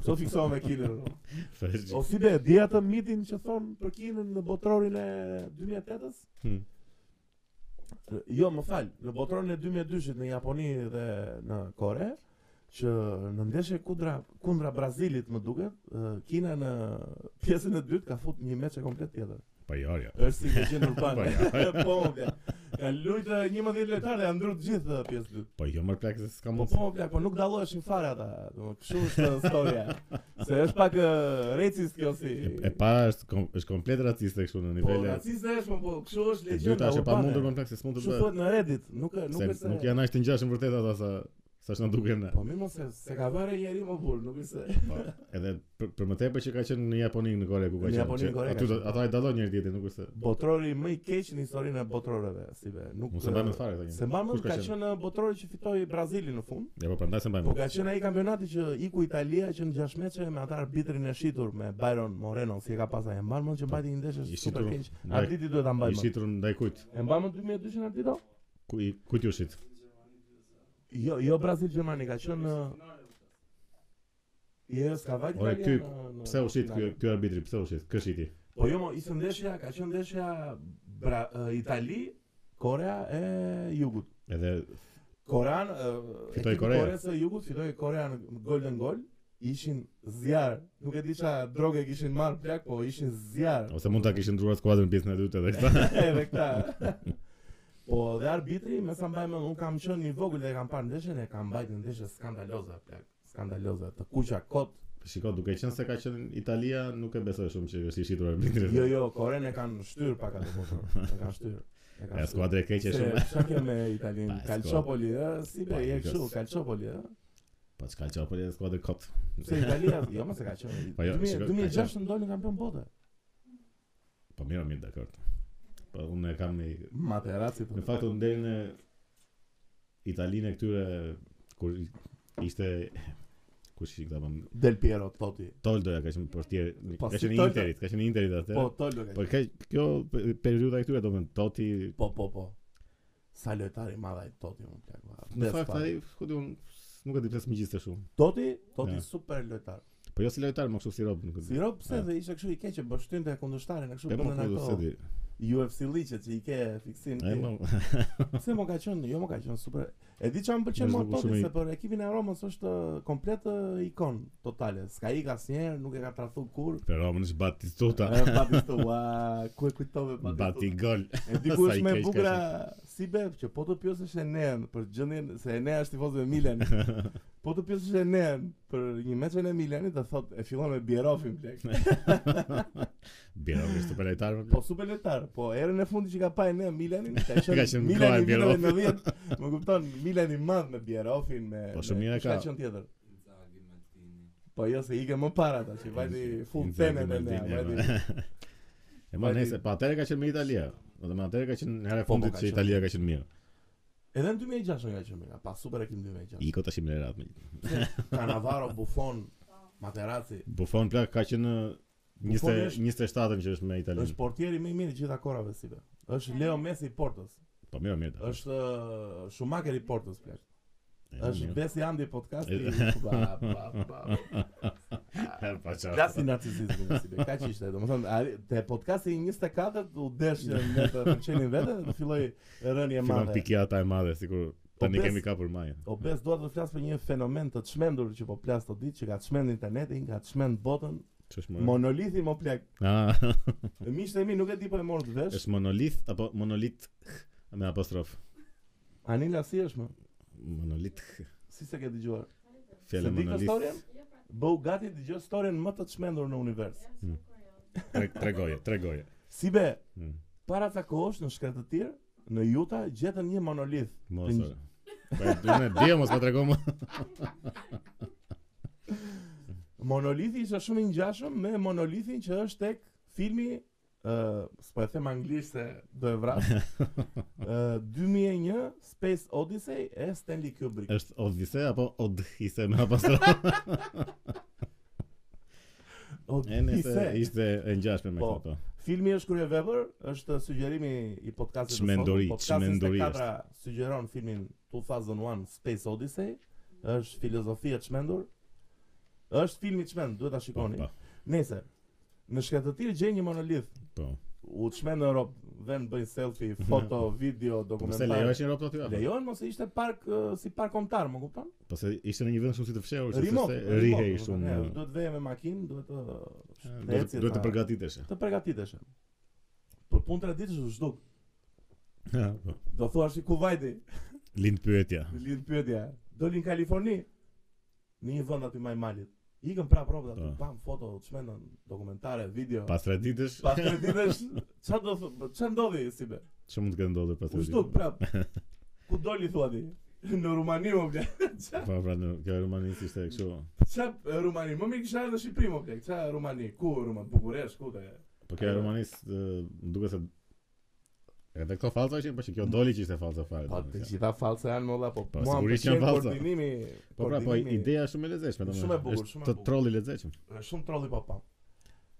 Speaker 1: Kto fiksohem me Kinën? o?
Speaker 2: Thashë-
Speaker 1: O si be, di atë mitin që thon për Kinën në botrorin e 2008-s?
Speaker 2: Hmm.
Speaker 1: Jo, më fal, në botrorin e 2002-shit në Japoni dhe në Kore, që në ndeshje kundra kundra Brazilit më duket, ë, Kina në pjesën e dytë ka fut një meçe komplet tjetër.
Speaker 2: Po jo, jo.
Speaker 1: Është si legjend urban.
Speaker 2: Po jo.
Speaker 1: po, më plak. Kan lujtë 11 lojtarë janë ndrur të gjithë ë, pjesë dytë.
Speaker 2: Po jo më plak se s'ka
Speaker 1: Po
Speaker 2: mundsi.
Speaker 1: po, më plak, po nuk dalloheshin fare ata. Domethënë, kështu është historia. Se është pak ë, recist kjo si.
Speaker 2: E, e para është kom, është komplet raciste kështu në
Speaker 1: Po,
Speaker 2: nivele.
Speaker 1: raciste është, po, po, kështu është
Speaker 2: e dyta
Speaker 1: legjenda
Speaker 2: është e
Speaker 1: urbane.
Speaker 2: pamundur më plak se s'mund të
Speaker 1: Kështu
Speaker 2: bëhet.
Speaker 1: thuhet në Reddit, nuk po, nuk
Speaker 2: Se
Speaker 1: është se-
Speaker 2: nuk janë as të ngjashëm vërtet ata sa sa s'na duken. ne.
Speaker 1: Po mirë mos se se ka vënë njëri më burr, nuk është se.
Speaker 2: Po. Edhe për, për më tepër që ka qenë në Japoni në Kore ku ka
Speaker 1: Në
Speaker 2: qenë.
Speaker 1: Japoni,
Speaker 2: që
Speaker 1: në Kore ka
Speaker 2: Aty
Speaker 1: qenë.
Speaker 2: ata i dallojnë njëri tjetrin, nuk është se
Speaker 1: Botrori më i keq në historinë e botrorëve, si be. Nuk
Speaker 2: mos e mbajmë fare këta
Speaker 1: Se
Speaker 2: njerëz. Kush
Speaker 1: mban
Speaker 2: ka
Speaker 1: mend ka
Speaker 2: qenë?
Speaker 1: qenë uh, botrori që fitoi Brazilin në fund,
Speaker 2: Ja po prandaj se mbajmë.
Speaker 1: po ka qenë ai kampionati që iku Italia që në 6 meçe me atë arbitrin e shitur me Byron Moreno, si e ka pas ai. Mban mend që mbajti një ndeshje
Speaker 2: I
Speaker 1: super
Speaker 2: shitur-
Speaker 1: keq.
Speaker 2: ndaj-
Speaker 1: Arditi duhet ta mbajë.
Speaker 2: I
Speaker 1: mend.
Speaker 2: shitur ndaj kujt?
Speaker 1: E mban mend 2200 Ardito?
Speaker 2: Ku i kujt ju shit?
Speaker 1: Jo, jo Brazil Gjermani ka qenë në Jo, s'ka vajtë
Speaker 2: Ore,
Speaker 1: Italia
Speaker 2: ky-
Speaker 1: në- në-
Speaker 2: Pse u shit
Speaker 1: në
Speaker 2: ky
Speaker 1: finale.
Speaker 2: ky arbitri? Pse u shit? Kë shiti?
Speaker 1: Po jo, mo, ishte ndeshja, ka qenë ndeshja Bra e, Itali, Korea e Jugut.
Speaker 2: Edhe
Speaker 1: Korean,
Speaker 2: Fitoi Korea.
Speaker 1: Korea e Jugut fitoi Korea në Golden Goal. Ishin zjarr, nuk e di ça droge kishin marr plak, po ishin zjarr.
Speaker 2: ose mund ta kishin ndruar skuadrën pjesën e dytë edhe këta.
Speaker 1: Edhe këta. Po dhe arbitri, me sa mbaj mend, un kam qenë i vogël dhe e kam parë ndeshjen e kam mbajtur ndeshje skandaloze plak, skandaloze, të kuqa kot.
Speaker 2: Shiko, duke qenë se ka qenë Italia, nuk e besoj shumë që është i shitur arbitri.
Speaker 1: Jo, jo, Koren e kanë shtyr pak atë botor. E kanë shtyr. E
Speaker 2: Ja, skuadra e keqe
Speaker 1: Se,
Speaker 2: shumë.
Speaker 1: çka ke me Italinë?
Speaker 2: Pa, e
Speaker 1: Calciopoli, ë, si
Speaker 2: Pa,
Speaker 1: be, je
Speaker 2: e
Speaker 1: kështu,
Speaker 2: kës.
Speaker 1: Calciopoli, ë.
Speaker 2: Po çka çao për e skuadrë kot.
Speaker 1: Se Italia, jo mos e ka qenë.
Speaker 2: Pa, jo,
Speaker 1: 2000-
Speaker 2: shiko, ka
Speaker 1: 2006 ndolën kampion bote.
Speaker 2: Po mirë, mirë, dakord. Po unë e kam në
Speaker 1: Materazzi. po.
Speaker 2: në fakt unë deri në Italinë e këtyre kur ishte Kush i këta bën?
Speaker 1: Del Piero thoti.
Speaker 2: Toldoja ka qenë portier,
Speaker 1: Po,
Speaker 2: ka
Speaker 1: si
Speaker 2: qenë i
Speaker 1: Toldo-
Speaker 2: Interit, ka qenë i Interit atë.
Speaker 1: Po Toldo ka.
Speaker 2: Po ka kjo pe- periudha e këtyre domethënë Toti
Speaker 1: Po po po. Sa lojtar i madh ai Toti më plak. va.
Speaker 2: në
Speaker 1: Bes
Speaker 2: fakt
Speaker 1: fare.
Speaker 2: ai ku diun nuk e di pse më gjithë të shumë.
Speaker 1: Toti, Toti
Speaker 2: Ja.
Speaker 1: super lojtar.
Speaker 2: Po jo si lojtar, më kështu si rob nuk e di.
Speaker 1: Si rob pse
Speaker 2: Ja.
Speaker 1: dhe ishte kështu i keq që bështynte kundërshtarin, kështu
Speaker 2: E më
Speaker 1: bëndën
Speaker 2: kudo se
Speaker 1: ato.
Speaker 2: di. po,
Speaker 1: UFC liçet që i ke fiksim.
Speaker 2: Ai
Speaker 1: ti.
Speaker 2: më
Speaker 1: Pse më ka qenë, jo më ka qenë super. E di çfarë më pëlqen
Speaker 2: Vazhdo
Speaker 1: më
Speaker 2: po
Speaker 1: Toti
Speaker 2: shumë i-
Speaker 1: se për ekipin e Romës është uh, komplet uh, ikon totale. S'ka ik asnjëherë, nuk e ka tradhtuar kur.
Speaker 2: Për Romën është Batistuta.
Speaker 1: E Batista, ua, ku e kujtove
Speaker 2: Bati
Speaker 1: Batista.
Speaker 2: gol.
Speaker 1: E di ku
Speaker 2: sa i
Speaker 1: është më
Speaker 2: keq
Speaker 1: e
Speaker 2: ka
Speaker 1: bukur si be që po të pyesësh Enean për gjendjen se Enea është tifoz me Milan. Po të pyesësh Enean për një meçën e Milanit, do thotë e fillon me Bierofin blek.
Speaker 2: Biro është super lojtar. më
Speaker 1: Po super lojtar, po erën e fundit që ka pa Enea Milanin, ka
Speaker 2: Ka
Speaker 1: qenë
Speaker 2: qenë
Speaker 1: Milani
Speaker 2: koha e
Speaker 1: i viteve 90. Më kupton, Milani i madh me Bierofin me
Speaker 2: Po, shumë
Speaker 1: me-
Speaker 2: mirë
Speaker 1: kush ka.
Speaker 2: ka.
Speaker 1: qenë tjetër.
Speaker 4: Inzaghi, Maldini.
Speaker 1: Po jo se ike më para tash, vajti full
Speaker 2: Inzaghi,
Speaker 1: tenë me Enea,
Speaker 2: Maldini,
Speaker 1: vajti.
Speaker 2: E ma
Speaker 1: Vajti-
Speaker 2: nëse, pa atëre ka qenë me Italia. Do të më atëre ka qenë në herë e
Speaker 1: Po, po,
Speaker 2: fundit
Speaker 1: ka
Speaker 2: që
Speaker 1: qenë.
Speaker 2: Italia ka qenë mirë.
Speaker 1: Edhe në 2006 nga qenë mira, pa super ekim 2006.
Speaker 2: Iko tash më rat.
Speaker 1: Cannavaro, Buffon, Materazzi,
Speaker 2: Buffon plak ka qenë në
Speaker 1: Buffon
Speaker 2: 20
Speaker 1: është-
Speaker 2: 27-ën që është me Italinë.
Speaker 1: është portieri më i mirë i gjitha korave si be. Është Leo Messi i Portës.
Speaker 2: Po mirë, mirë. ta.
Speaker 1: Është uh, Schumacher i Portës plot.
Speaker 2: E,
Speaker 1: Është
Speaker 2: mirë.
Speaker 1: Besi Andi i podcasti. Ba ba ba.
Speaker 2: Pa çfarë.
Speaker 1: Plasi narcisizmi si be. Kaq ishte. Domethënë ari- te podcasti i 24 u desh në të pëlqenin vetë dhe filloi rënje e
Speaker 2: Fillon
Speaker 1: madhe.
Speaker 2: pikjata e madhe, sikur tani
Speaker 1: Po, pes-
Speaker 2: kemi kapur majën.
Speaker 1: O Bes dua të flas për një fenomen të çmendur që po plas të ditë që ka çmend internetin, ka çmend botën,
Speaker 2: Ç'është më?
Speaker 1: monolithi më plak.
Speaker 2: Ah,
Speaker 1: Miqtë e mi nuk e di po e morë të vesh.
Speaker 2: është monolith apo monolit me apostrof.
Speaker 1: Anila si është më?
Speaker 2: Monolit.
Speaker 1: Si se ke dëgjuar?
Speaker 2: Fjala
Speaker 1: Se di këtë
Speaker 2: monolith.
Speaker 1: storyn? Bëu gati dëgjoj storyn më të çmendur në univers.
Speaker 2: Tre- Tregoje, tregoje.
Speaker 1: Si be,
Speaker 2: Mm.
Speaker 1: para ca kohësh në shkretë të tjerë, në Utah gjetën një monolith.
Speaker 2: Mos.
Speaker 1: Të
Speaker 2: ore. Po do të di mos më tregon. më.
Speaker 1: Monolithi ishte shumë i ngjashëm me monolithin që është tek filmi ë s'po e them anglisht se do e vras. ë 2001 Space Odyssey e Stanley Kubrick.
Speaker 2: Është Odise apo Odhise me apostrof? E nëse
Speaker 1: Odyssey.
Speaker 2: ishte e ngjashme me
Speaker 1: Po.
Speaker 2: këto.
Speaker 1: Filmi është kryevepër, është sugjerimi i podcastit të sotëm.
Speaker 2: Çmenduri,
Speaker 1: Podcasti
Speaker 2: çmenduri
Speaker 1: 24 sugjeron filmin 2001 Space Odyssey. Është filozofi e çmendur. Është film i çmend, duhet ta
Speaker 2: Po,
Speaker 1: shikoni.
Speaker 2: po,
Speaker 1: Nëse në shkretëtir gjej një monolith,
Speaker 2: po.
Speaker 1: u çmend në Europë, vend bëjnë selfie, foto, video,
Speaker 2: Po Mhm. pse
Speaker 1: dokumentar.
Speaker 2: lejohesh në rob aty apo?
Speaker 1: Lejohen mos e ishte park ë, si park kombëtar, më kupton?
Speaker 2: Po se ishte në një vend shumë si të fshehur, Po, se
Speaker 1: Remote,
Speaker 2: se
Speaker 1: remote,
Speaker 2: rihej
Speaker 1: më kupton,
Speaker 2: shumë.
Speaker 1: e,
Speaker 2: e,
Speaker 1: Duhet vejë me makinë, duhet të të
Speaker 2: Duhet
Speaker 1: ecje
Speaker 2: duhet të
Speaker 1: ta-
Speaker 2: përgatitesh.
Speaker 1: të përgatitesh. Për punë tre ditësh u zhduk.
Speaker 2: Ja, po.
Speaker 1: Do thua si Kuwaiti,
Speaker 2: Lind pyetja.
Speaker 1: lidh pyetja. Dolin në Kaliforni në një vend aty më i malit. Ikën prapë rrobat aty,
Speaker 2: Po.
Speaker 1: pam foto, çmendën dokumentare, video.
Speaker 2: Pas tre ditësh,
Speaker 1: Pas tre ditësh ç'a do thë- ç'a ndodhi si be?
Speaker 2: ç'mund mund të ketë ndodhur pas
Speaker 1: U
Speaker 2: tre
Speaker 1: zhduk
Speaker 2: ditësh?
Speaker 1: prap. pra, Ku doli thua ti? Në Rumani më bla.
Speaker 2: Po, pra, në kjo romanisht ishte kështu.
Speaker 1: Ç'a e, Rumani? Më mirë kisha ardhur në Shqipëri më bla. Ç'a e, Rumani? Ku e, Rumani? Bukuresh, ku te?
Speaker 2: Po kjo romanisht më duket se edhe këto falca ishin, po që kjo doli që ishte falca fare.
Speaker 1: Po të
Speaker 2: domethënë.
Speaker 1: gjitha false janë më valla, po
Speaker 2: Po,
Speaker 1: mua më
Speaker 2: sigurisht janë
Speaker 1: pëlqen
Speaker 2: false.
Speaker 1: koordinimi.
Speaker 2: Po pra, po
Speaker 1: koordinimi-
Speaker 2: ideja është shumë e lezetshme domethënë.
Speaker 1: Shumë e bukur,
Speaker 2: Është
Speaker 1: shumë e
Speaker 2: Të
Speaker 1: bukur.
Speaker 2: trolli lezetshëm.
Speaker 1: Shumë trolli pa pam.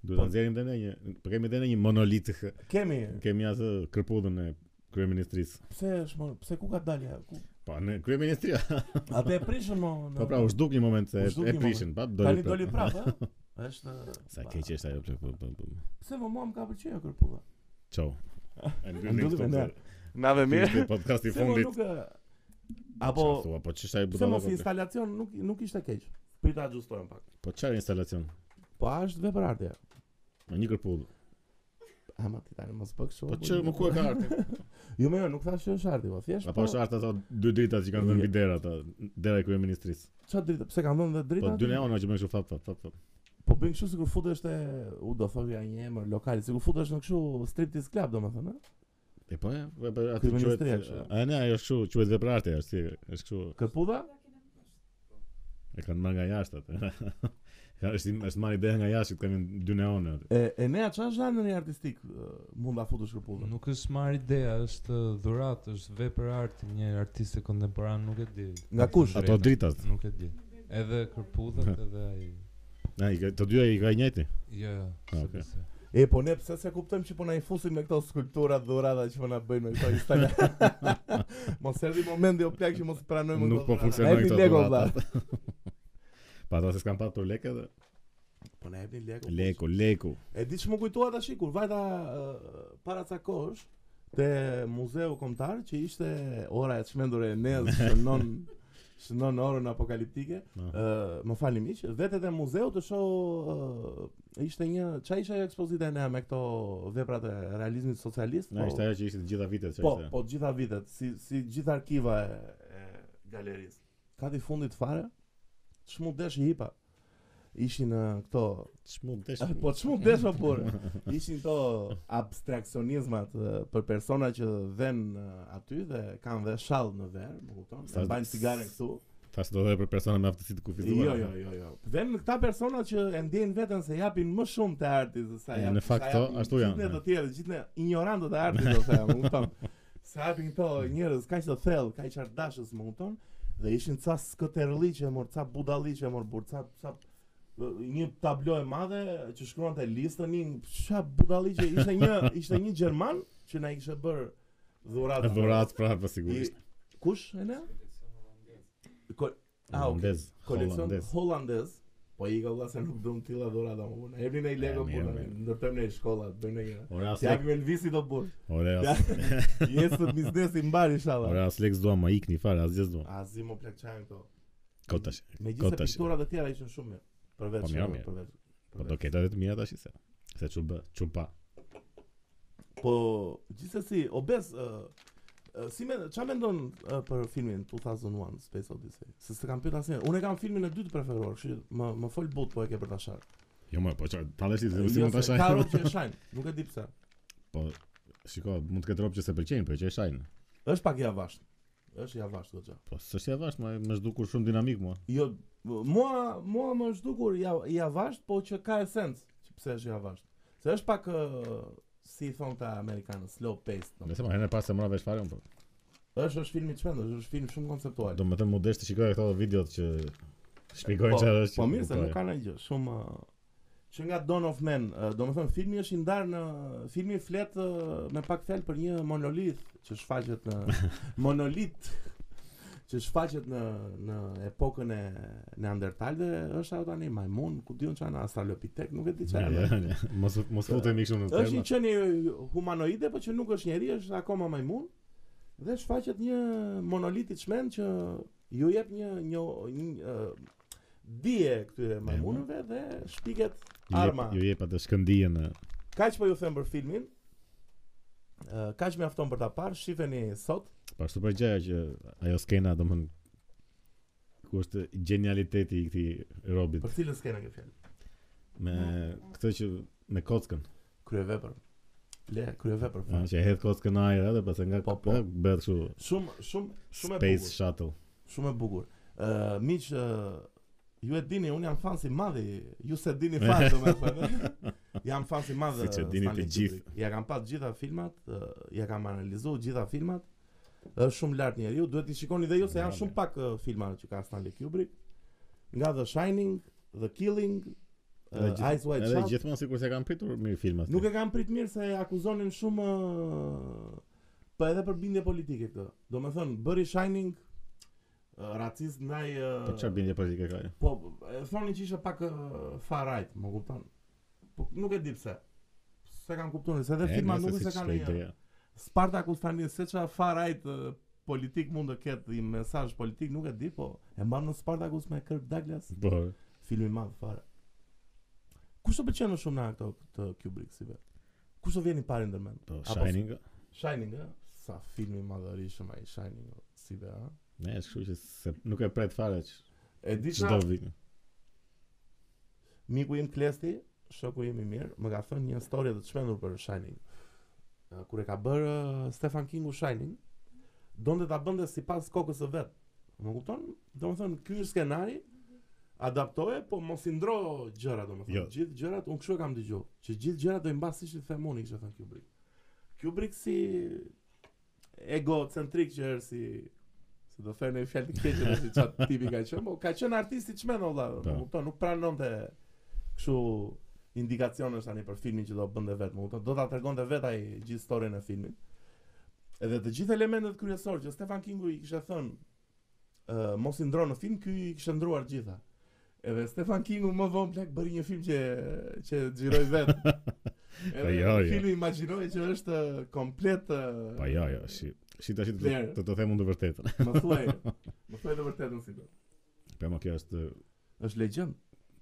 Speaker 2: Duhet ta nxjerrim dhe ne një, po kemi dhe ne një monolit.
Speaker 1: Kemi,
Speaker 2: Kemi atë kërpudhën e kryeministrisë.
Speaker 1: pse është më, pse ku ka dalja? Ku
Speaker 2: Po në kryeministria.
Speaker 1: Atë e prishën më. në-
Speaker 2: Po pra, u zhduk një moment se
Speaker 1: U zhduk
Speaker 2: e
Speaker 1: një
Speaker 2: prishin, pa
Speaker 1: Tani
Speaker 2: doli.
Speaker 1: doli pra.
Speaker 2: prap.
Speaker 1: prapë, ë? Është
Speaker 2: Sa
Speaker 1: pa,
Speaker 2: keq është ajo plak, po po po.
Speaker 1: Pse më mua më ka pëlqyer ajo kërpulla?
Speaker 2: Ciao. E mbyllim
Speaker 1: mbyllim
Speaker 2: këtu.
Speaker 1: ne. Nave
Speaker 2: Ishte podcasti i
Speaker 1: Pse më
Speaker 2: fundit.
Speaker 1: nuk ë, apo
Speaker 2: Çfarë thua, po ç'është ai
Speaker 1: pse
Speaker 2: budalla?
Speaker 1: mos instalacion nuk nuk ishte keq. Prita ajustojmë pak.
Speaker 2: Po çfarë instalacion?
Speaker 1: Po a është veprartje.
Speaker 2: Në një kërpull.
Speaker 1: Ama Ah, ti tani mos bëk shumë.
Speaker 2: Po çë më ku e ka arti?
Speaker 1: Jo më jo, nuk thash që është arti, po thjesht.
Speaker 2: Apo është arti ato dy drita që kanë vënë
Speaker 1: Je.
Speaker 2: mbi dera ata, dera e kryeministrisë.
Speaker 1: Çfarë dritë? Pse kanë vënë dhe
Speaker 2: Po
Speaker 1: drita?
Speaker 2: dy neona që bën kështu fap fap fap. fap.
Speaker 1: Po bën kështu sikur futesh te u do thoya një emër lokal, sikur futesh në kështu striptease club domethënë, ë?
Speaker 2: E po, e, po, e, po, aty quhet.
Speaker 1: Kryeministria kështu.
Speaker 2: A ne ajo kështu quhet veprarte, është si- është kështu.
Speaker 1: Kërpulla?
Speaker 2: E kanë marrë nga jashtë atë. Ka është është marrë ide nga jashtë, kanë vënë dy neona aty.
Speaker 1: E e nea çfarë është në një artistik ë, mund ta futesh kërpullën?
Speaker 4: Nuk është marrë ideja, është dhurat, është vepër arti, një artist e kontemporan nuk e di.
Speaker 1: Nga kush?
Speaker 4: Të
Speaker 2: Ato
Speaker 4: drejtën,
Speaker 2: dritat.
Speaker 4: Nuk e di. Edhe kërpudhët edhe ai.
Speaker 2: Na, i ka- të dyja i ka i njëjti.
Speaker 4: Jo, jo.
Speaker 2: Ah,
Speaker 4: se
Speaker 2: okay.
Speaker 4: besoj.
Speaker 1: E po ne pse se kuptojmë që po na i fusim me këto skulptura dhurata që po na bëjnë me këto Instagram. mos erdhi momenti o plak që mos pranojmë
Speaker 2: Nuk po
Speaker 1: funksionojnë
Speaker 2: funksionojnë këto
Speaker 1: këto. Lego vlla.
Speaker 2: dhurata. Pa ata se s'kan patur lekë edhe.
Speaker 1: Po na jepni Lego.
Speaker 2: Leku, leku.
Speaker 1: E di që më kujtua tash kur vajta ë, para ca kohësh te muzeu kombëtar që ishte ora e çmendur e Enez shënon shënon orën apokaliptike.
Speaker 2: Aha.
Speaker 1: Ë, më falni miq, vetet e muzeut të shoh ë, ishte një çfarë ishte ekspozita e nea me këto veprat e realizmit socialist.
Speaker 2: Na
Speaker 1: po-
Speaker 2: ishte ajo që ishte të gjitha vitet që
Speaker 1: Po,
Speaker 2: ishte.
Speaker 1: po të gjitha vitet, si si gjithë arkiva e
Speaker 3: e galerisë.
Speaker 1: ka ti fundit fare. Çmundesh i hipa. Ishin ë, këto,
Speaker 2: Çmund tesh.
Speaker 1: eh, po çmundesh o por. Ishin këto abstraksionizmat ë, për persona që vën aty dhe kanë dhe shall në verë, më kupton?
Speaker 2: Sa-
Speaker 1: Sa bajnë cigaren këtu.
Speaker 2: Tash do të për persona me aftësi të kufizuara.
Speaker 1: Jo, jo, jo, jo. Vën këta persona që e ndjejnë veten se japin më shumë te arti se sa
Speaker 2: E,
Speaker 1: japin.
Speaker 2: në fakt
Speaker 1: sa
Speaker 2: to,
Speaker 1: japin
Speaker 2: ashtu janë,
Speaker 1: Gjithë ne
Speaker 2: e.
Speaker 1: të tjerë, gjithë ne ignorantët e artit ose më kupton. Sa japin këto njerëz kaq të thellë, kaq ardashës, më kupton? Dhe ishin ca skëterliqe, mor ca budalliqe, mor bur ca ca një tablo e madhe që shkruante listën, një ça budalliqe, ishte një ishte një gjerman që na i kishte bër dhuratë.
Speaker 2: Dhurat pra, po
Speaker 1: jo. I-
Speaker 2: sigurisht.
Speaker 1: Kush e ne? Ko- Ah, okay
Speaker 2: Holandez,
Speaker 1: koleksion
Speaker 2: holandez.
Speaker 1: hollandez. Po i ka vëlla se nuk do të tilla dhurata më punë. Ebni në i Lego
Speaker 2: mirë,
Speaker 1: punë,
Speaker 2: mirë.
Speaker 1: ndërtojmë në shkolla, bëjmë një.
Speaker 2: Ora
Speaker 1: Si
Speaker 2: as
Speaker 1: japim Elvisit do burr.
Speaker 2: Ore as
Speaker 1: Jesë biznesi mbar
Speaker 2: Ore
Speaker 1: inshallah.
Speaker 2: as Lex dua ma ikni fare, asgjë s'dua.
Speaker 1: Azi më plak çajin këto.
Speaker 2: Kot tash.
Speaker 1: Megjithëse
Speaker 2: Kota shi.
Speaker 1: pikturat e tjera ishin shumë mirë.
Speaker 2: Po
Speaker 1: Përveç
Speaker 2: mirë,
Speaker 1: shumë,
Speaker 2: mirë.
Speaker 1: përveç.
Speaker 2: Po do ketë edhe të mira tash se. Se çu bë, çu pa.
Speaker 1: Po gjithsesi obes ë ë, Si me, qa me ndonë për filmin 2001 Space Odyssey? Se se kam pyet asnjë. Unë e kam filmin e dytë preferuar, kështu që më, më fol but po e ke për ta sharë.
Speaker 2: Jo më, po çfarë? Tallesh ti,
Speaker 1: Jo,
Speaker 2: si mund ta
Speaker 1: se Ka
Speaker 2: shajnë?
Speaker 1: rob që e shajnë, nuk e di pse.
Speaker 2: Po shiko, mund të ketë rob që se pëlqejnë, po që e shajnë.
Speaker 1: Është pak i avasht. Është i avasht goxha.
Speaker 2: Po s'është e vashtë, ma më zhdukur shumë dinamik mua.
Speaker 1: Jo, mua mua më është dukur i av- i avasht, po që ka esencë, që pse është i avasht. Se është pak ë, si i thon këta amerikanë, slow paced. No.
Speaker 2: Nëse ma herën e pastë mora vesh fare unë. po.
Speaker 1: Është është film i çmendur, është film shumë konceptual.
Speaker 2: Do më thënë mu desh të shikoj këto videot që shpjegojnë
Speaker 1: Po,
Speaker 2: çfarë është.
Speaker 1: Po
Speaker 2: që
Speaker 1: mirë se
Speaker 2: kuptoj.
Speaker 1: nuk ka ndonjë gjë, shumë ë, që nga Dawn of Man, ë, do më thënë filmi është i ndarë në filmi flet ë, me pak fjalë për një monolith që shfaqet në monolit që shfaqet në në epokën e neandertalëve është ajo tani majmun, ku diun çana australopitek, nuk e di
Speaker 2: Ja,
Speaker 1: çfarë.
Speaker 2: ja, ja. Mos mos futemi kështu në
Speaker 1: Është
Speaker 2: tema.
Speaker 1: një qenie humanoide, po që nuk është njeri, është akoma majmun dhe shfaqet një monolit i çmend që ju jep një një, një uh, dije këtyre majmunëve dhe shpiket
Speaker 2: Ju jep-
Speaker 1: arma.
Speaker 2: Ju jep atë shkëndijen e
Speaker 1: Kaq po ju them për filmin. Uh, kaq mjafton për ta parë, shifeni sot.
Speaker 2: Pa ashtu për gjaja që ajo skena do më thënë, ku është genialiteti i këtij robit
Speaker 1: Për cilën skenën ke fjalë?
Speaker 2: me këtë që me kockën,
Speaker 1: Kryevepër. Le kryevepër.
Speaker 2: a, që e hedh kockën në ajër edhe pastaj nga
Speaker 1: Po, po.
Speaker 2: nga bëhet kështu
Speaker 1: Shumë shumë shumë e
Speaker 2: space
Speaker 1: bukur.
Speaker 2: shuttle.
Speaker 1: Shumë e bukur. Ë uh, miq, ë, ju e dini, un jam fan si madh, i- ju se dini fare domethënë. jam fan si madh.
Speaker 2: Siç e
Speaker 1: ë,
Speaker 2: dini
Speaker 1: Stanley
Speaker 2: të gjithë.
Speaker 1: Kubrick. Ja kam pa të gjitha filmat, ë, ja kam analizuar gjitha filmat. Është shumë lart njeriu, duhet i shikoni dhe ju se janë
Speaker 2: Bravo.
Speaker 1: shumë pak ë, filma që ka Stanley Kubrick. Nga The Shining, The Killing, ë,
Speaker 2: Edhe gjithë-
Speaker 1: Eyes Wide
Speaker 2: Edhe
Speaker 1: Shut.
Speaker 2: gjithmonë sikur se kanë pritur mirë filmat.
Speaker 1: Nuk e kam prit mirë se akuzonin shumë ë, po edhe për bindje politike këtë. Domethënë bëri Shining ë, racist ndaj ë,
Speaker 2: Po çfarë bindje politike ka ajo?
Speaker 1: Po, e thoni që ishte pak ë, far right, më kupton. Po nuk e di pse. Se kam kuptuar se edhe
Speaker 2: E,
Speaker 1: filma
Speaker 2: nëse
Speaker 1: nuk
Speaker 2: si
Speaker 1: është se
Speaker 2: që
Speaker 1: kanë
Speaker 2: shkoj
Speaker 1: një.
Speaker 2: ideja.
Speaker 1: Spartakus tani se çfarë far right ë, politik mund të ketë i mesazh politik nuk e di, po e mban në Spartakus me Kirk Douglas,
Speaker 2: Po,
Speaker 1: film i madh fare. Kush të pëlqen më shumë në ato të Kubrick si vetë? Kush të vjen i pari ndërmend?
Speaker 2: po
Speaker 1: Apo-
Speaker 2: Shining.
Speaker 1: Shining, ë? Sa film i madhërishëm ai Shining, o, si be, a?
Speaker 2: Ne është kështu që se nuk e pret fare që
Speaker 1: E di çfarë
Speaker 2: çdo vit.
Speaker 1: Miku im Klesti, shoku im i mirë, më ka thënë një histori të çmendur për Shining. Ë, Kur e ka bërë ë, Stephen Kingu Shining, donte ta bënte sipas kokës së vet. Më kupton? Domethënë ky është skenari, adaptoje, po mos i ndro gjëra domethënë.
Speaker 2: Jo.
Speaker 1: Gjithë gjërat, unë kështu e kam dëgjuar, që gjithë gjërat do i mbas siç i themoni, kishte thënë Kubrick. Kubrick er si egocentrik që është si se do thënë një fjalë të keqe dhe si çat tipi ka qenë, po ka qenë artist i çmen olla,
Speaker 2: Po.
Speaker 1: më kupton, nuk pranonte kështu indikacionesh tani për filmin që do bënte vetë, më kupton, do ta tregonte vetë ai gjithë historinë e filmit. Edhe të gjithë elementet kryesorë që Stefan Kingu i kishte thënë ë mos i ndron në film, ky i kishte ndruar gjitha. Edhe Stefan Kingu më vonë plak bëri një film që që xhiroi vetë. Edhe
Speaker 2: jo, jo.
Speaker 1: filmi imagjinoi që është ë, komplet ë,
Speaker 2: Pa jo, jo, si si tash të
Speaker 1: Vlerë.
Speaker 2: të të them unë të vërtetën.
Speaker 1: Më thuaj. më thuaj të vërtetën si do.
Speaker 2: Po më kjo është
Speaker 1: Është legjend.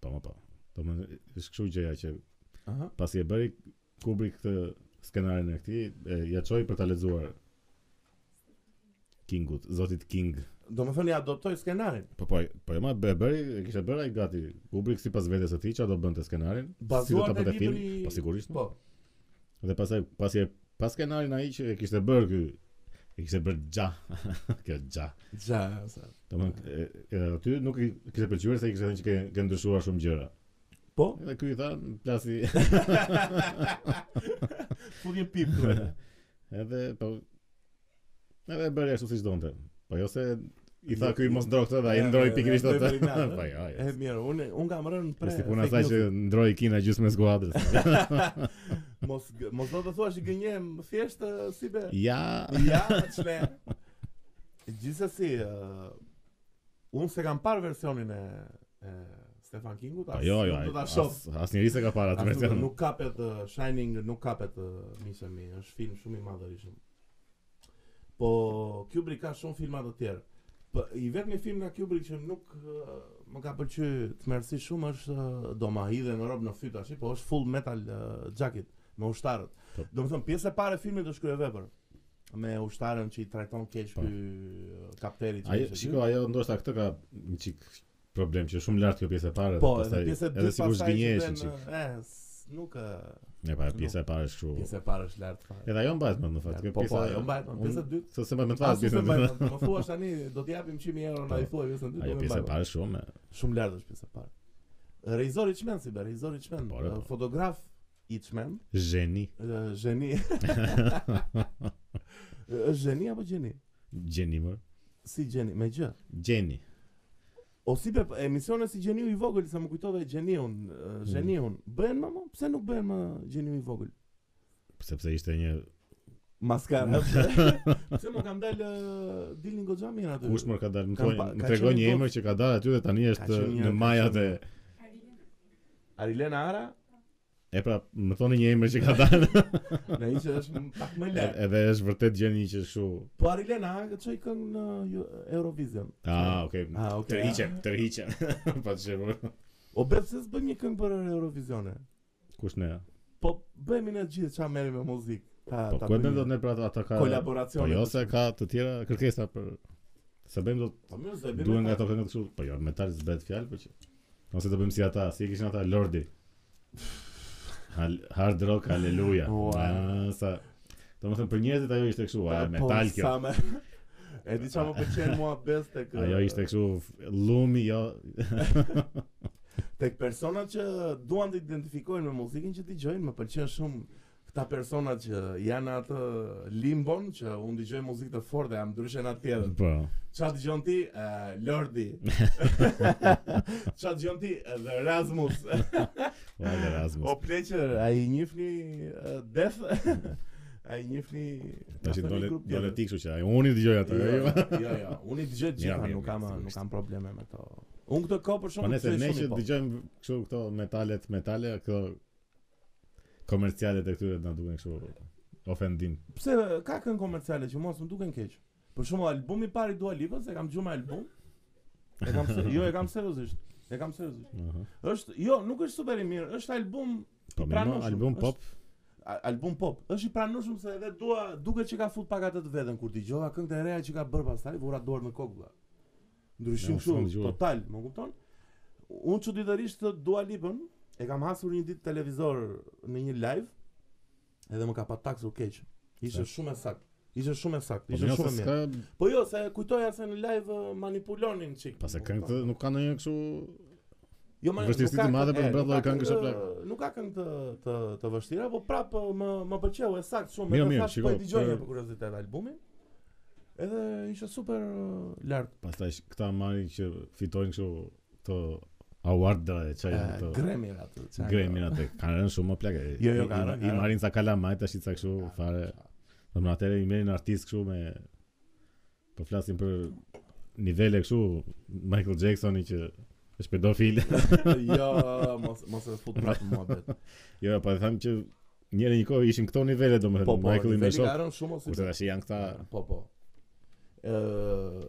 Speaker 2: po më po. Do më është kështu gjëja që
Speaker 1: Aha.
Speaker 2: pasi e bëri Kubrick këtë skenarin e këtij, e ja çoi për ta lexuar Kingut, zotit King.
Speaker 1: Do më thënë i adoptoj skenarin
Speaker 2: Po po, po e ma e bëri, e kishte bërë ai gati Kubrick sipas vetes së tij çfarë do bënte skenarin, si do
Speaker 1: Bazuar
Speaker 2: ta
Speaker 1: te
Speaker 2: bënte film,
Speaker 1: libri-
Speaker 2: po sigurisht.
Speaker 1: Po
Speaker 2: Dhe pastaj pasi e pas skenarin ai që e kishte bërë ky e kishte bërë xha. kjo xha.
Speaker 1: Gja sa.
Speaker 2: Domethënë e- e- aty nuk i kishte pëlqyer se i kishte thënë që ke, ke ndryshuar shumë gjëra.
Speaker 1: Po
Speaker 2: Edhe ky i tha, plasi
Speaker 1: Fut një pip këtu.
Speaker 2: edhe po edhe e bëri ashtu siç donte. Po jo se i tha ky mos ndro këtë dhe ai
Speaker 1: Ja,
Speaker 2: ndroi
Speaker 1: ja,
Speaker 2: pikërisht
Speaker 1: ja,
Speaker 2: atë.
Speaker 1: bëri natë,
Speaker 2: Po jo.
Speaker 1: E mirë, unë unë kam rënë pre.
Speaker 2: Është puna
Speaker 1: fake
Speaker 2: asaj
Speaker 1: news.
Speaker 2: që ndroi Kina gjysmën e skuadrës.
Speaker 1: mos gë- mos do të thuash që gënjem thjesht ë, si be.
Speaker 2: ja.
Speaker 1: Ja, çme. Gjithsesi, ë unë se kam parë versionin e, e Stefan Kingut,
Speaker 2: Po
Speaker 1: as
Speaker 2: jo, jo.
Speaker 1: nuk do ta
Speaker 2: as-
Speaker 1: shoh.
Speaker 2: Asnjëri se ka para atë
Speaker 1: Ashtu që
Speaker 2: version.
Speaker 1: nuk kapet uh, Shining, nuk kapet uh, miqë e mi, është film shumë i madhërishëm. Po Kubrick ka shumë filma të tjerë. Po i vetmi film nga Kubrick që nuk uh, më ka pëlqyer të mersi shumë është uh, do ma hidhe në rob në fyt tash, po është Full Metal uh, Jacket me ushtarët.
Speaker 2: Po.
Speaker 1: Domethënë pjesa e parë e filmit është kryevepër me ushtarën që i trajton keq
Speaker 2: Po.
Speaker 1: ky uh, kapteni që
Speaker 2: Ajo,
Speaker 1: ishte
Speaker 2: shiko, ajo ndoshta këtë ka një çik problem që është shumë lart kjo pjesë e parë.
Speaker 1: ky. po,
Speaker 2: pastaj-
Speaker 1: edhe pjesa e dytë
Speaker 2: edhe sigurisht
Speaker 1: pastaj që
Speaker 2: gënjehesh
Speaker 1: vjen,
Speaker 2: një çik.
Speaker 1: uh, e, s- nuk uh,
Speaker 2: Ne pa pjesa e parë është kështu.
Speaker 1: pjesa e parë është lart fare.
Speaker 2: Edhe ajo mbahet më në fakt. kjo
Speaker 1: Po po,
Speaker 2: pjesa-
Speaker 1: ajo mbahet,
Speaker 2: unë-
Speaker 1: pjesa e dytë.
Speaker 2: Se se më të
Speaker 1: A,
Speaker 2: fas
Speaker 1: si se
Speaker 2: pjesën.
Speaker 1: mbajnë, Më po, thua tani do të japim 1000 euro na i
Speaker 2: Po.
Speaker 1: thuaj pjesën dytë.
Speaker 2: Ajo
Speaker 1: do me
Speaker 2: pjesa e
Speaker 1: mbajmë.
Speaker 2: parë është shumë. e-
Speaker 1: Shumë lart është pjesa e parë. Rejzori i çmend si be, rejzori i çmend,
Speaker 2: Po, re, po.
Speaker 1: fotograf i çmend,
Speaker 2: Zheni,
Speaker 1: ë, zheni. Është zheni apo gjeni?
Speaker 2: gjeni më.
Speaker 1: Si gjeni, me gjë.
Speaker 2: Gjeni.
Speaker 1: O si be, emisione si gjeniu i vogël, se më kujtove gjeniun, ë,
Speaker 2: Mm.
Speaker 1: gjeniun. Bëhen më, mo? pse nuk bëhen më gjeniu i vogël?
Speaker 2: Sepse ishte një
Speaker 1: Maskara. Pse më kam dalë ë, dilin goxha mirë aty.
Speaker 2: kush më ka dalë, më
Speaker 1: Kam
Speaker 2: thonjë,
Speaker 1: pa-
Speaker 2: më
Speaker 1: ka
Speaker 2: tregoi
Speaker 1: qenë
Speaker 2: një
Speaker 1: një
Speaker 2: emër që ka dalë aty dhe tani është
Speaker 1: qenë një-
Speaker 2: në
Speaker 1: ka
Speaker 2: majat
Speaker 1: qenë
Speaker 2: e
Speaker 1: Arilena Ara,
Speaker 2: e pra më thoni një emër që ka dalë
Speaker 1: në ishte është pak më lart.
Speaker 2: e- edhe është vërtet gjeni që kështu.
Speaker 1: Po Arilena, ha, këtë çoj këngë në Ju- Eurovision.
Speaker 2: Ah, okay.
Speaker 1: Ah, okay.
Speaker 2: Tërhiqem, tërhiqem. Pa çfarë.
Speaker 1: O bërë se s'bëjmë një këngë për Eurovisione.
Speaker 2: Kush ne?
Speaker 1: Po bëjmë ne gjithë çfarë merrim me muzikë. Ta,
Speaker 2: Po
Speaker 1: ta
Speaker 2: ku e bëjmë
Speaker 1: bëjmë
Speaker 2: dot ne pra ata ka Po
Speaker 1: kolaboracione.
Speaker 2: jo se ka të tjera kërkesa për se bëjmë dot
Speaker 1: Po mirë, se
Speaker 2: duhen
Speaker 1: bëjmë.
Speaker 2: nga
Speaker 1: ta-
Speaker 2: ato këngë kështu. Po jo, metal zbret fjalë, po që. Ose do bëjmë si ata, si e kishin ata Lordi. Hal- Hard rock, haleluja.
Speaker 1: Ua.
Speaker 2: Ah, Sa Do më thënë për njerëzit ajo ishte kështu, ajo
Speaker 1: Po,
Speaker 2: metal kjo.
Speaker 1: sa me- E di çfarë më pëlqen mua best tek
Speaker 2: Ajo ishte kështu f- lumi, jo.
Speaker 1: tek personat që duan të identifikojnë me muzikën që dëgjojnë, më pëlqen shumë këta persona që janë atë limbon që unë dëgjoj muzikë të fortë dhe jam ndryshe nga të tjerët.
Speaker 2: Po.
Speaker 1: Qa të gjon ti? Eh, Lordi Qa të gjon ti? Eh, The Rasmus
Speaker 2: Po ai Erasmus.
Speaker 1: O pleqër, a i njifni eh, Death? a i njifni
Speaker 2: Tash
Speaker 1: a thoni
Speaker 2: dole
Speaker 1: grup
Speaker 2: dole
Speaker 1: tjetër?
Speaker 2: ti kështu që ajo unë i dëgjoj atë.
Speaker 1: Jo,
Speaker 2: ajo.
Speaker 1: jo, jo, unë i dëgjoj të
Speaker 2: Mira,
Speaker 1: gjitha,
Speaker 2: mira,
Speaker 1: nuk kam
Speaker 2: mira,
Speaker 1: nuk
Speaker 2: sigurisht.
Speaker 1: kam probleme me to. Unë këtë kohë për
Speaker 2: Po
Speaker 1: shumë
Speaker 2: nëse
Speaker 1: dëgjoj
Speaker 2: ne
Speaker 1: shumë
Speaker 2: që
Speaker 1: hip-hop.
Speaker 2: dëgjojmë kështu këto metalet, metale, këto komerciale të këtyre na duken kështu ofendim.
Speaker 1: Pse ka këngë komerciale që mua s'm duken keq. Për shembull, albumi i parë i Dua Lipës, e kam dëgjuar me album. E kam se- jo, e kam seriozisht. E kam seriozisht.
Speaker 2: Aha.
Speaker 1: Është, jo, nuk është super i mirë, është album
Speaker 2: Po
Speaker 1: I
Speaker 2: më
Speaker 1: pranoshëm,
Speaker 2: album
Speaker 1: është-
Speaker 2: pop,
Speaker 1: a- album pop. Është i pranueshëm se edhe dua duket që ka fut pak atë të veten kur dëgjova këngët e reja që ka bër pastaj, vura dorë në kokë vlla. Ndryshim
Speaker 2: Ja, s'kam
Speaker 1: shumë
Speaker 2: dëgjuar.
Speaker 1: total, më kupton? Unë çuditërisht të Dua Lipën e kam hasur një ditë televizor në një live edhe më ka pataksur keq. Ishte
Speaker 2: Ja.
Speaker 1: shumë e saktë. Ishte shumë e saktë,
Speaker 2: Po
Speaker 1: ishte
Speaker 2: nëse
Speaker 1: shumë e mirë.
Speaker 2: s'ka,
Speaker 1: Po jo, se kujtoja se në live uh, manipulonin çik.
Speaker 2: pas e
Speaker 1: më
Speaker 2: këngë
Speaker 1: kupton?
Speaker 2: të- nuk ka ndonjë kështu
Speaker 1: Jo, ma-
Speaker 2: Vështirësi
Speaker 1: nuk ka
Speaker 2: të madhe për të
Speaker 1: këngë- e,
Speaker 2: bërë
Speaker 1: nuk ka
Speaker 2: lloj këngësh
Speaker 1: këngë-
Speaker 2: e
Speaker 1: Nuk ka këngë të të të vështira, po prapë më më pëlqeu e saktë shumë.
Speaker 2: Mirë,
Speaker 1: edhe
Speaker 2: mirë,
Speaker 1: thash,
Speaker 2: shiko,
Speaker 1: Po e dëgjoj
Speaker 2: për-
Speaker 1: një për kuriozitet albumin. Edhe ishte super uh, lart.
Speaker 2: Pastaj sh- këta marrin që fitojnë kështu këto award e çaj
Speaker 1: Eh,
Speaker 2: këto
Speaker 1: Gremi atë. çfarë?
Speaker 2: Gremin atë kanë rënë shumë më plagë.
Speaker 1: Jo, jo, kanë rënë,
Speaker 2: I
Speaker 1: kanë
Speaker 2: marrin ca kalamaj tash i ca kështu
Speaker 1: Ka-
Speaker 2: fare. Do më atëre i merrin artist kështu me po flasim për nivele kështu Michael Jacksoni që është pedofil.
Speaker 1: jo, mos mos e fut prapë në muhabet.
Speaker 2: jo, po e them që njëri një kohë ishin këto nivele domethënë
Speaker 1: Po po.
Speaker 2: Michael i më
Speaker 1: niveli
Speaker 2: shoh.
Speaker 1: ka rënë shumë ose.
Speaker 2: Kurse tash janë këta
Speaker 1: Po po. Ë e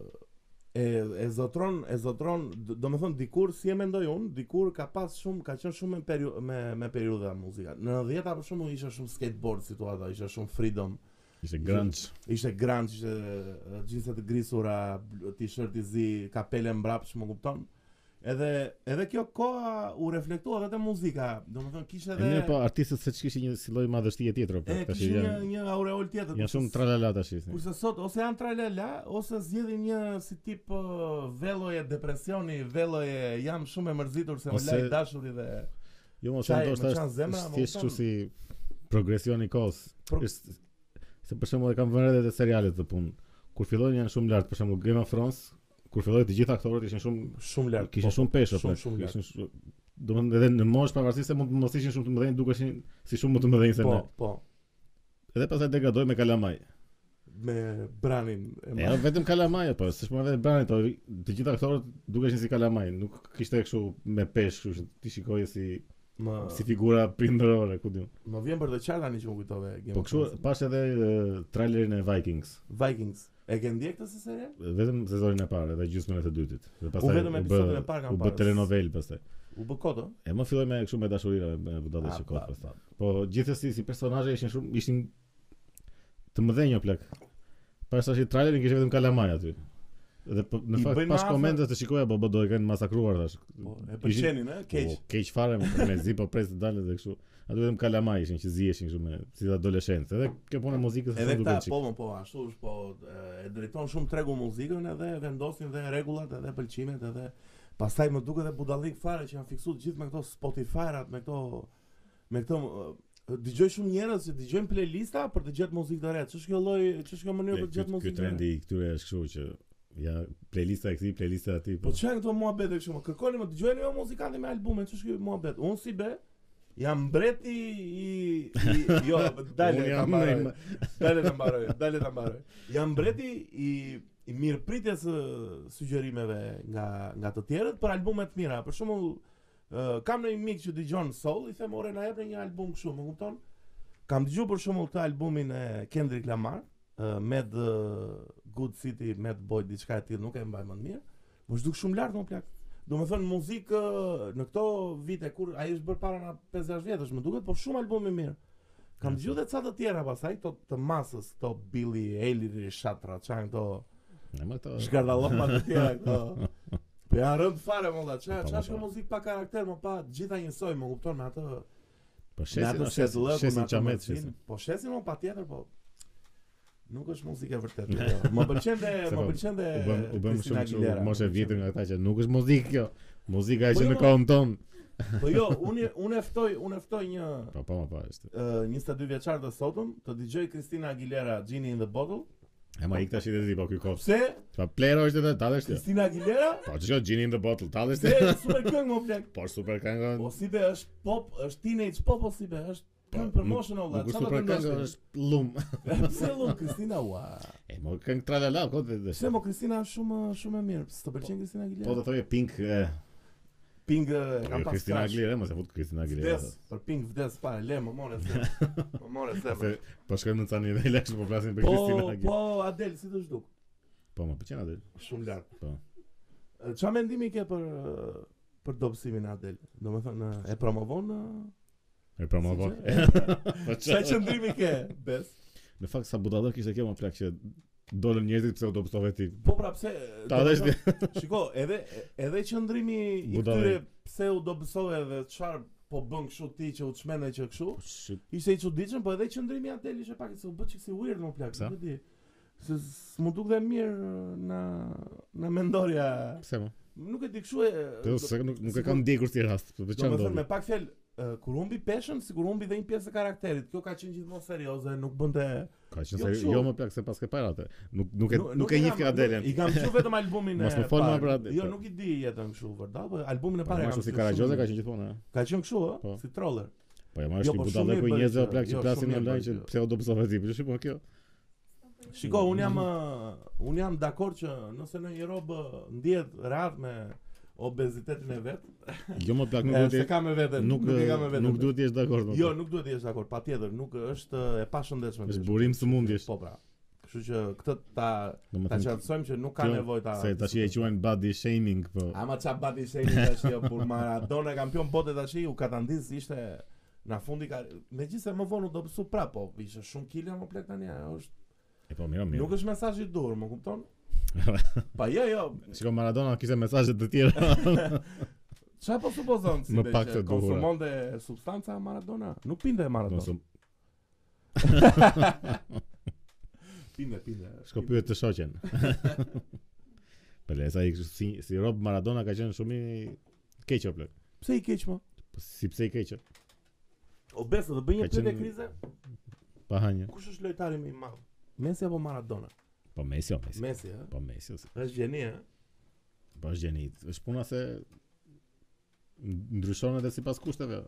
Speaker 1: e zotron, e zotron, d- do me thënë dikur si e mendoj unë, dikur ka pas shumë, ka qenë shumë me periu, me me periudha muzika. Në 90-ta për shembull ishte shumë skateboard situata, ishte shumë freedom.
Speaker 2: ishte grunge.
Speaker 1: Ishte grunge, ishte eh, gjinse të grisura, bl- t-shirt i zi, kapele mbrapshme, kupton? Edhe edhe kjo koha u reflektua edhe te muzika. Domethënë
Speaker 2: E
Speaker 1: kishte
Speaker 2: mirë po
Speaker 1: edhe
Speaker 2: artistët se kishin një si lloj madhështie tjetër po
Speaker 1: e
Speaker 2: tash
Speaker 1: kishte një
Speaker 2: janë
Speaker 1: një aureol tjetër.
Speaker 2: janë
Speaker 1: kurse
Speaker 2: shumë
Speaker 1: s-
Speaker 2: tralala tash.
Speaker 1: Kurse sot ose janë tralala ose zgjedhin një si tip uh, velloje depresioni, velloje jam shumë e mërzitur se më
Speaker 2: Ose-
Speaker 1: laj dashuri dhe
Speaker 2: Jo mos
Speaker 1: Çaj,
Speaker 2: janë
Speaker 1: më
Speaker 2: ndoshta
Speaker 1: çan
Speaker 2: është
Speaker 1: zemra,
Speaker 2: është
Speaker 1: më
Speaker 2: thjesht
Speaker 1: kupton?
Speaker 2: kështu si progresioni i kohës.
Speaker 1: Pro-
Speaker 2: Është se për shembull e kam vënë edhe te serialet të punë. Kur fillojnë janë shumë lart, për shembull Game of Thrones, kur filloi të gjithë aktorët ishin shumë
Speaker 1: shumë Po, lart.
Speaker 2: kishin shumë peshë,
Speaker 1: shumë, shumë lart.
Speaker 2: ishin shumë domethënë edhe në moshë pavarësisht se mund të mos ishin shumë të mëdhenj, dukeshin si shumë më të mëdhenj se
Speaker 1: Po,
Speaker 2: ne.
Speaker 1: po.
Speaker 2: Edhe pastaj degradoi me kalamaj.
Speaker 1: Me branin e
Speaker 2: E
Speaker 1: madh.
Speaker 2: jo vetëm kalamaj po, s'është më vetëm brani, po të gjithë aktorët dukeshin si kalamaj, nuk kishte kështu me peshë, kështu që ti shikoje si
Speaker 1: Më
Speaker 2: si figura prindërore, ku diun.
Speaker 1: më vjen për të qartë tani që më kujtove Game
Speaker 2: Po
Speaker 1: of
Speaker 2: kështu
Speaker 1: Thrones.
Speaker 2: pash edhe e, trailerin e Vikings.
Speaker 1: Vikings. E ke ndjek këtë si serial?
Speaker 2: vetëm sezonin e parë dhe gjysmën e të dytit. Dhe
Speaker 1: vetëm
Speaker 2: u bë-
Speaker 1: episodin e parë kam
Speaker 2: U bë
Speaker 1: parë.
Speaker 2: telenovel pastaj.
Speaker 1: U bë kodo?
Speaker 2: E më filloi me kështu me dashurira me budallë
Speaker 1: Ah,
Speaker 2: që kohë
Speaker 1: pa,
Speaker 2: pastaj. Po gjithsesi si personazhe ishin shumë ishin të mëdhenj o plak. Pas tash i trailerin kishte vetëm kalamaj aty. Dhe po, në
Speaker 1: I
Speaker 2: fakt
Speaker 1: bëjnë
Speaker 2: pas
Speaker 1: afër?
Speaker 2: komenteve të shikoja po do e kanë masakruar tash.
Speaker 1: Po, e
Speaker 2: Ishin-
Speaker 1: pëlqenin, ë? Keq.
Speaker 2: Po, keq fare me me zi po pres të dalë dhe kështu. Aty vetëm kalamaj ishin që ziheshin kështu me si adoleshencë. Edhe kjo punë e muzikës
Speaker 1: Edhe
Speaker 2: ashtu
Speaker 1: këta
Speaker 2: duket çik.
Speaker 1: po më po ashtu është po e, e drejton shumë tregu muzikën edhe vendosin dhe rregullat edhe pëlqimet edhe pastaj më duket edhe budallik fare që janë fiksuar gjithë me këto Spotify-rat me këto me këto e, dëgjoj shumë njerëz që dëgjojnë playlista për të gjetë muzikë të re. Ç'është kjo lloj, ç'është kjo mënyrë
Speaker 2: Ja,
Speaker 1: për të gjetë
Speaker 2: ky- Ky
Speaker 1: muzikë? të re?
Speaker 2: trendi i këtyre është kështu që ja playlista e këtij, playlista e atij.
Speaker 1: Po çfarë janë këto muhabete kështu më? Kërkoni më dëgjojeni jo muzikante me albume, ç'është kjo muhabet? Unë si be jam mbreti i, i jo, dalë
Speaker 2: Unë
Speaker 1: ta
Speaker 2: jam
Speaker 1: mbaroj.
Speaker 2: në-
Speaker 1: Dale ta mbaroj, dale ta mbaroj. Jam mbreti i i mirëpritjes së sugjerimeve nga nga të tjerët për albume të mira. Për shembull, ë, kam një mik që dëgjon soul, i them ore na jep një album kështu, më kupton? Kam dëgjuar për shembull këtë albumin e Kendrick Lamar, ë, Mad ë, Good City, Mad Boy, diçka e tillë, nuk e mbaj më të mirë. Më duk shumë lart më plak. Do me thënë muzikë ë, në këto vite kur ai është bërë para na 5-6 vjetësh më duket, po shumë albume mirë. Kam dëgjuar edhe ca të tjera pasaj, këto të masës, këto Billy Eilish, Shatra, çan këto
Speaker 2: Ne më këto.
Speaker 1: zhgardalloma të tjera këto. Po janë rënd fare molla, ç'a
Speaker 2: Po, po,
Speaker 1: ç'a është
Speaker 2: po.
Speaker 1: muzikë pa karakter, më pa të gjitha njësoj, më kupton me atë
Speaker 2: Po
Speaker 1: me
Speaker 2: shesin,
Speaker 1: atë
Speaker 2: o, shesin,
Speaker 1: shezllëkun, me
Speaker 2: shesin
Speaker 1: atë
Speaker 2: çamet
Speaker 1: mërzin.
Speaker 2: shesin.
Speaker 1: Po shesin më patjetër, po nuk është muzikë e vërtetë. jo. Më pëlqen dhe
Speaker 2: Se
Speaker 1: më
Speaker 2: po,
Speaker 1: pëlqen dhe
Speaker 2: U bëm u bëm
Speaker 1: Christina
Speaker 2: shumë
Speaker 1: Aguilera,
Speaker 2: kështu moshe
Speaker 1: më pëlqen.
Speaker 2: vjetër nga ata që nuk është muzikë kjo. Muzika e që
Speaker 1: Po jo,
Speaker 2: në
Speaker 1: mo.
Speaker 2: kohën tonë.
Speaker 1: Po jo, unë unë e ftoj, unë e ftoj një
Speaker 2: Po po po është.
Speaker 1: ë, 22 vjeçar të sotëm të dëgjoj Christina Aguilera Genie in the Bottle.
Speaker 2: E ma ik tash i dhe po ky kops.
Speaker 1: Pse?
Speaker 2: Po plero është edhe tallësh kjo.
Speaker 1: Christina Aguilera?
Speaker 2: Po çka Gin in the Bottle tallësh
Speaker 1: Se
Speaker 2: ti.
Speaker 1: është super këngë më plak.
Speaker 2: Po super këngë.
Speaker 1: Po si be është pop, është teenage pop o si be është këngë promotional valla.
Speaker 2: Nuk është super
Speaker 1: çfarë do të
Speaker 2: këngë,
Speaker 1: ndoshti?
Speaker 2: është lum.
Speaker 1: Pse lu Kristina ua.
Speaker 2: E mo këngë tralala kot dhe.
Speaker 1: Pse mo Kristina është shumë shumë e mirë. Pse të pëlqen Kristina
Speaker 2: Po
Speaker 1: Aguilera?
Speaker 2: do thoje Pink e
Speaker 1: Pink e,
Speaker 2: po,
Speaker 1: kam
Speaker 2: jo,
Speaker 1: pas
Speaker 2: Christina
Speaker 1: crash.
Speaker 2: Aguilera, mos e fut Christina Aguilera.
Speaker 1: Vdes, për Pink vdes fare, le më more se. Më more se.
Speaker 2: Se po shkojmë në ca nivele kështu po flasim për
Speaker 1: Po,
Speaker 2: Kristina
Speaker 1: po
Speaker 2: Aguilera.
Speaker 1: Adel si të zhduk?
Speaker 2: Po më pëlqen atë.
Speaker 1: Shumë lart.
Speaker 2: Po.
Speaker 1: Ë, Çfarë mendimi ke për ë, për dobësimin e Adel? Domethënë e promovon? ë,
Speaker 2: E promovon.
Speaker 1: si
Speaker 2: Po
Speaker 1: që? Sa qëndrimi ke? Bes.
Speaker 2: Në fakt sa budallë kishte kjo më plak që dolën njerëzit pse u dobësove ti.
Speaker 1: Po pra pse?
Speaker 2: Ta
Speaker 1: domethënë-
Speaker 2: dash ti.
Speaker 1: Shiko, edhe edhe qëndrimi i
Speaker 2: Budallë.
Speaker 1: këtyre pse u dobësove dhe çfarë po bën kështu ti që u çmende që kështu, ishte i çuditshëm, po edhe qëndrimi i atel ishte pak se u bë çik si weird më plak,
Speaker 2: Pse?
Speaker 1: nuk e di. Se s- më duk dhe mirë na na mendorja.
Speaker 2: Pse më?
Speaker 1: Nuk e di kështu e
Speaker 2: Po se nuk nuk e
Speaker 1: sikur-
Speaker 2: kam ndjekur si rast. Po
Speaker 1: Do
Speaker 2: çan
Speaker 1: me thënë me
Speaker 2: dolën.
Speaker 1: pak fjalë eh, kur humbi peshën, sikur humbi dhe një pjesë e karakterit. Kjo ka qenë gjithmonë serioze, nuk bënte
Speaker 2: Ka qenë
Speaker 1: Jo,
Speaker 2: se
Speaker 1: kështu.
Speaker 2: jo më plak se pas ke parë atë. Nuk nuk e nuk e
Speaker 1: kam-
Speaker 2: njeh ka Adelen.
Speaker 1: I kam thënë vetëm albumin e
Speaker 2: Mos më fol më
Speaker 1: parë.
Speaker 2: për atë,
Speaker 1: Jo,
Speaker 2: po.
Speaker 1: nuk i di jetën kështu vërtet, po albumin e
Speaker 2: Po
Speaker 1: parë e
Speaker 2: më
Speaker 1: kam.
Speaker 2: si
Speaker 1: thënë
Speaker 2: Karagjoza
Speaker 1: shumë
Speaker 2: ka
Speaker 1: mirë.
Speaker 2: qenë gjithmonë, ha.
Speaker 1: Ka qenë kështu, ë,
Speaker 2: Po.
Speaker 1: si troller.
Speaker 2: Po ja marrë
Speaker 1: Jo,
Speaker 2: një
Speaker 1: po,
Speaker 2: budallë për
Speaker 1: shumë e bëri
Speaker 2: njerëz
Speaker 1: kjo.
Speaker 2: plak që
Speaker 1: Jo,
Speaker 2: plasin
Speaker 1: shumë e
Speaker 2: online
Speaker 1: bëri
Speaker 2: që
Speaker 1: kjo.
Speaker 2: pseudo psavazi. Po shikoj kjo.
Speaker 1: Shiko, un jam ë, un jam dakord që nëse në një rob ë, ndihet rahat me obezitetin e vet,
Speaker 2: Jo më plak nuk
Speaker 1: e, se
Speaker 2: duhet.
Speaker 1: kam me veten,
Speaker 2: Nuk
Speaker 1: nuk e kam me
Speaker 2: e-
Speaker 1: veten.
Speaker 2: nuk duhet të jesh dakord. më
Speaker 1: Jo,
Speaker 2: plak.
Speaker 1: nuk duhet të jesh dakord, patjetër, nuk është e pashëndetshme.
Speaker 2: Është burim sëmundjesh.
Speaker 1: Po pra. Kështu që këtë ta ta
Speaker 2: Domethënë
Speaker 1: qartësojmë që nuk ka
Speaker 2: kjo-
Speaker 1: nevojë ta.
Speaker 2: se tash e quajnë body shaming, po.
Speaker 1: Ama qa bati se një tash jo, por Maradona kampion bote tash u katandiz ishte në fundi ka megjithëse më vonë u do psu prap, po ishte shumë kile më plek tani ajo është
Speaker 2: E po mirë, mirë.
Speaker 1: nuk është mesazh i dur, më kupton? pa jo jo,
Speaker 2: Shikoj Maradona kishte mesazhe të tjera.
Speaker 1: qa po supozon si
Speaker 2: Më
Speaker 1: dhe
Speaker 2: pak
Speaker 1: që
Speaker 2: të duhura.
Speaker 1: konsumonte substanca Maradona? Nuk pinte Maradona.
Speaker 2: Mos
Speaker 1: Pinte, pinte.
Speaker 2: shko pyet të shoqen. Pele, sa i kështu si, si Rob Maradona ka qenë shumë i keq o plak.
Speaker 1: Pse i keq më?
Speaker 2: Po si pse i keq? o?
Speaker 1: Obesa do bëj një
Speaker 2: Ka
Speaker 1: pyetje
Speaker 2: qenë-
Speaker 1: krize?
Speaker 2: Pa hanje.
Speaker 1: Kush është lojtari më i madh? Messi apo Maradona?
Speaker 2: Po Messi, o Messi.
Speaker 1: Messi, ëh.
Speaker 2: Po Messi. o, si.
Speaker 1: Është gjeni, ëh.
Speaker 2: Po është gjeni. Është puna se ndryshon edhe sipas kushteve.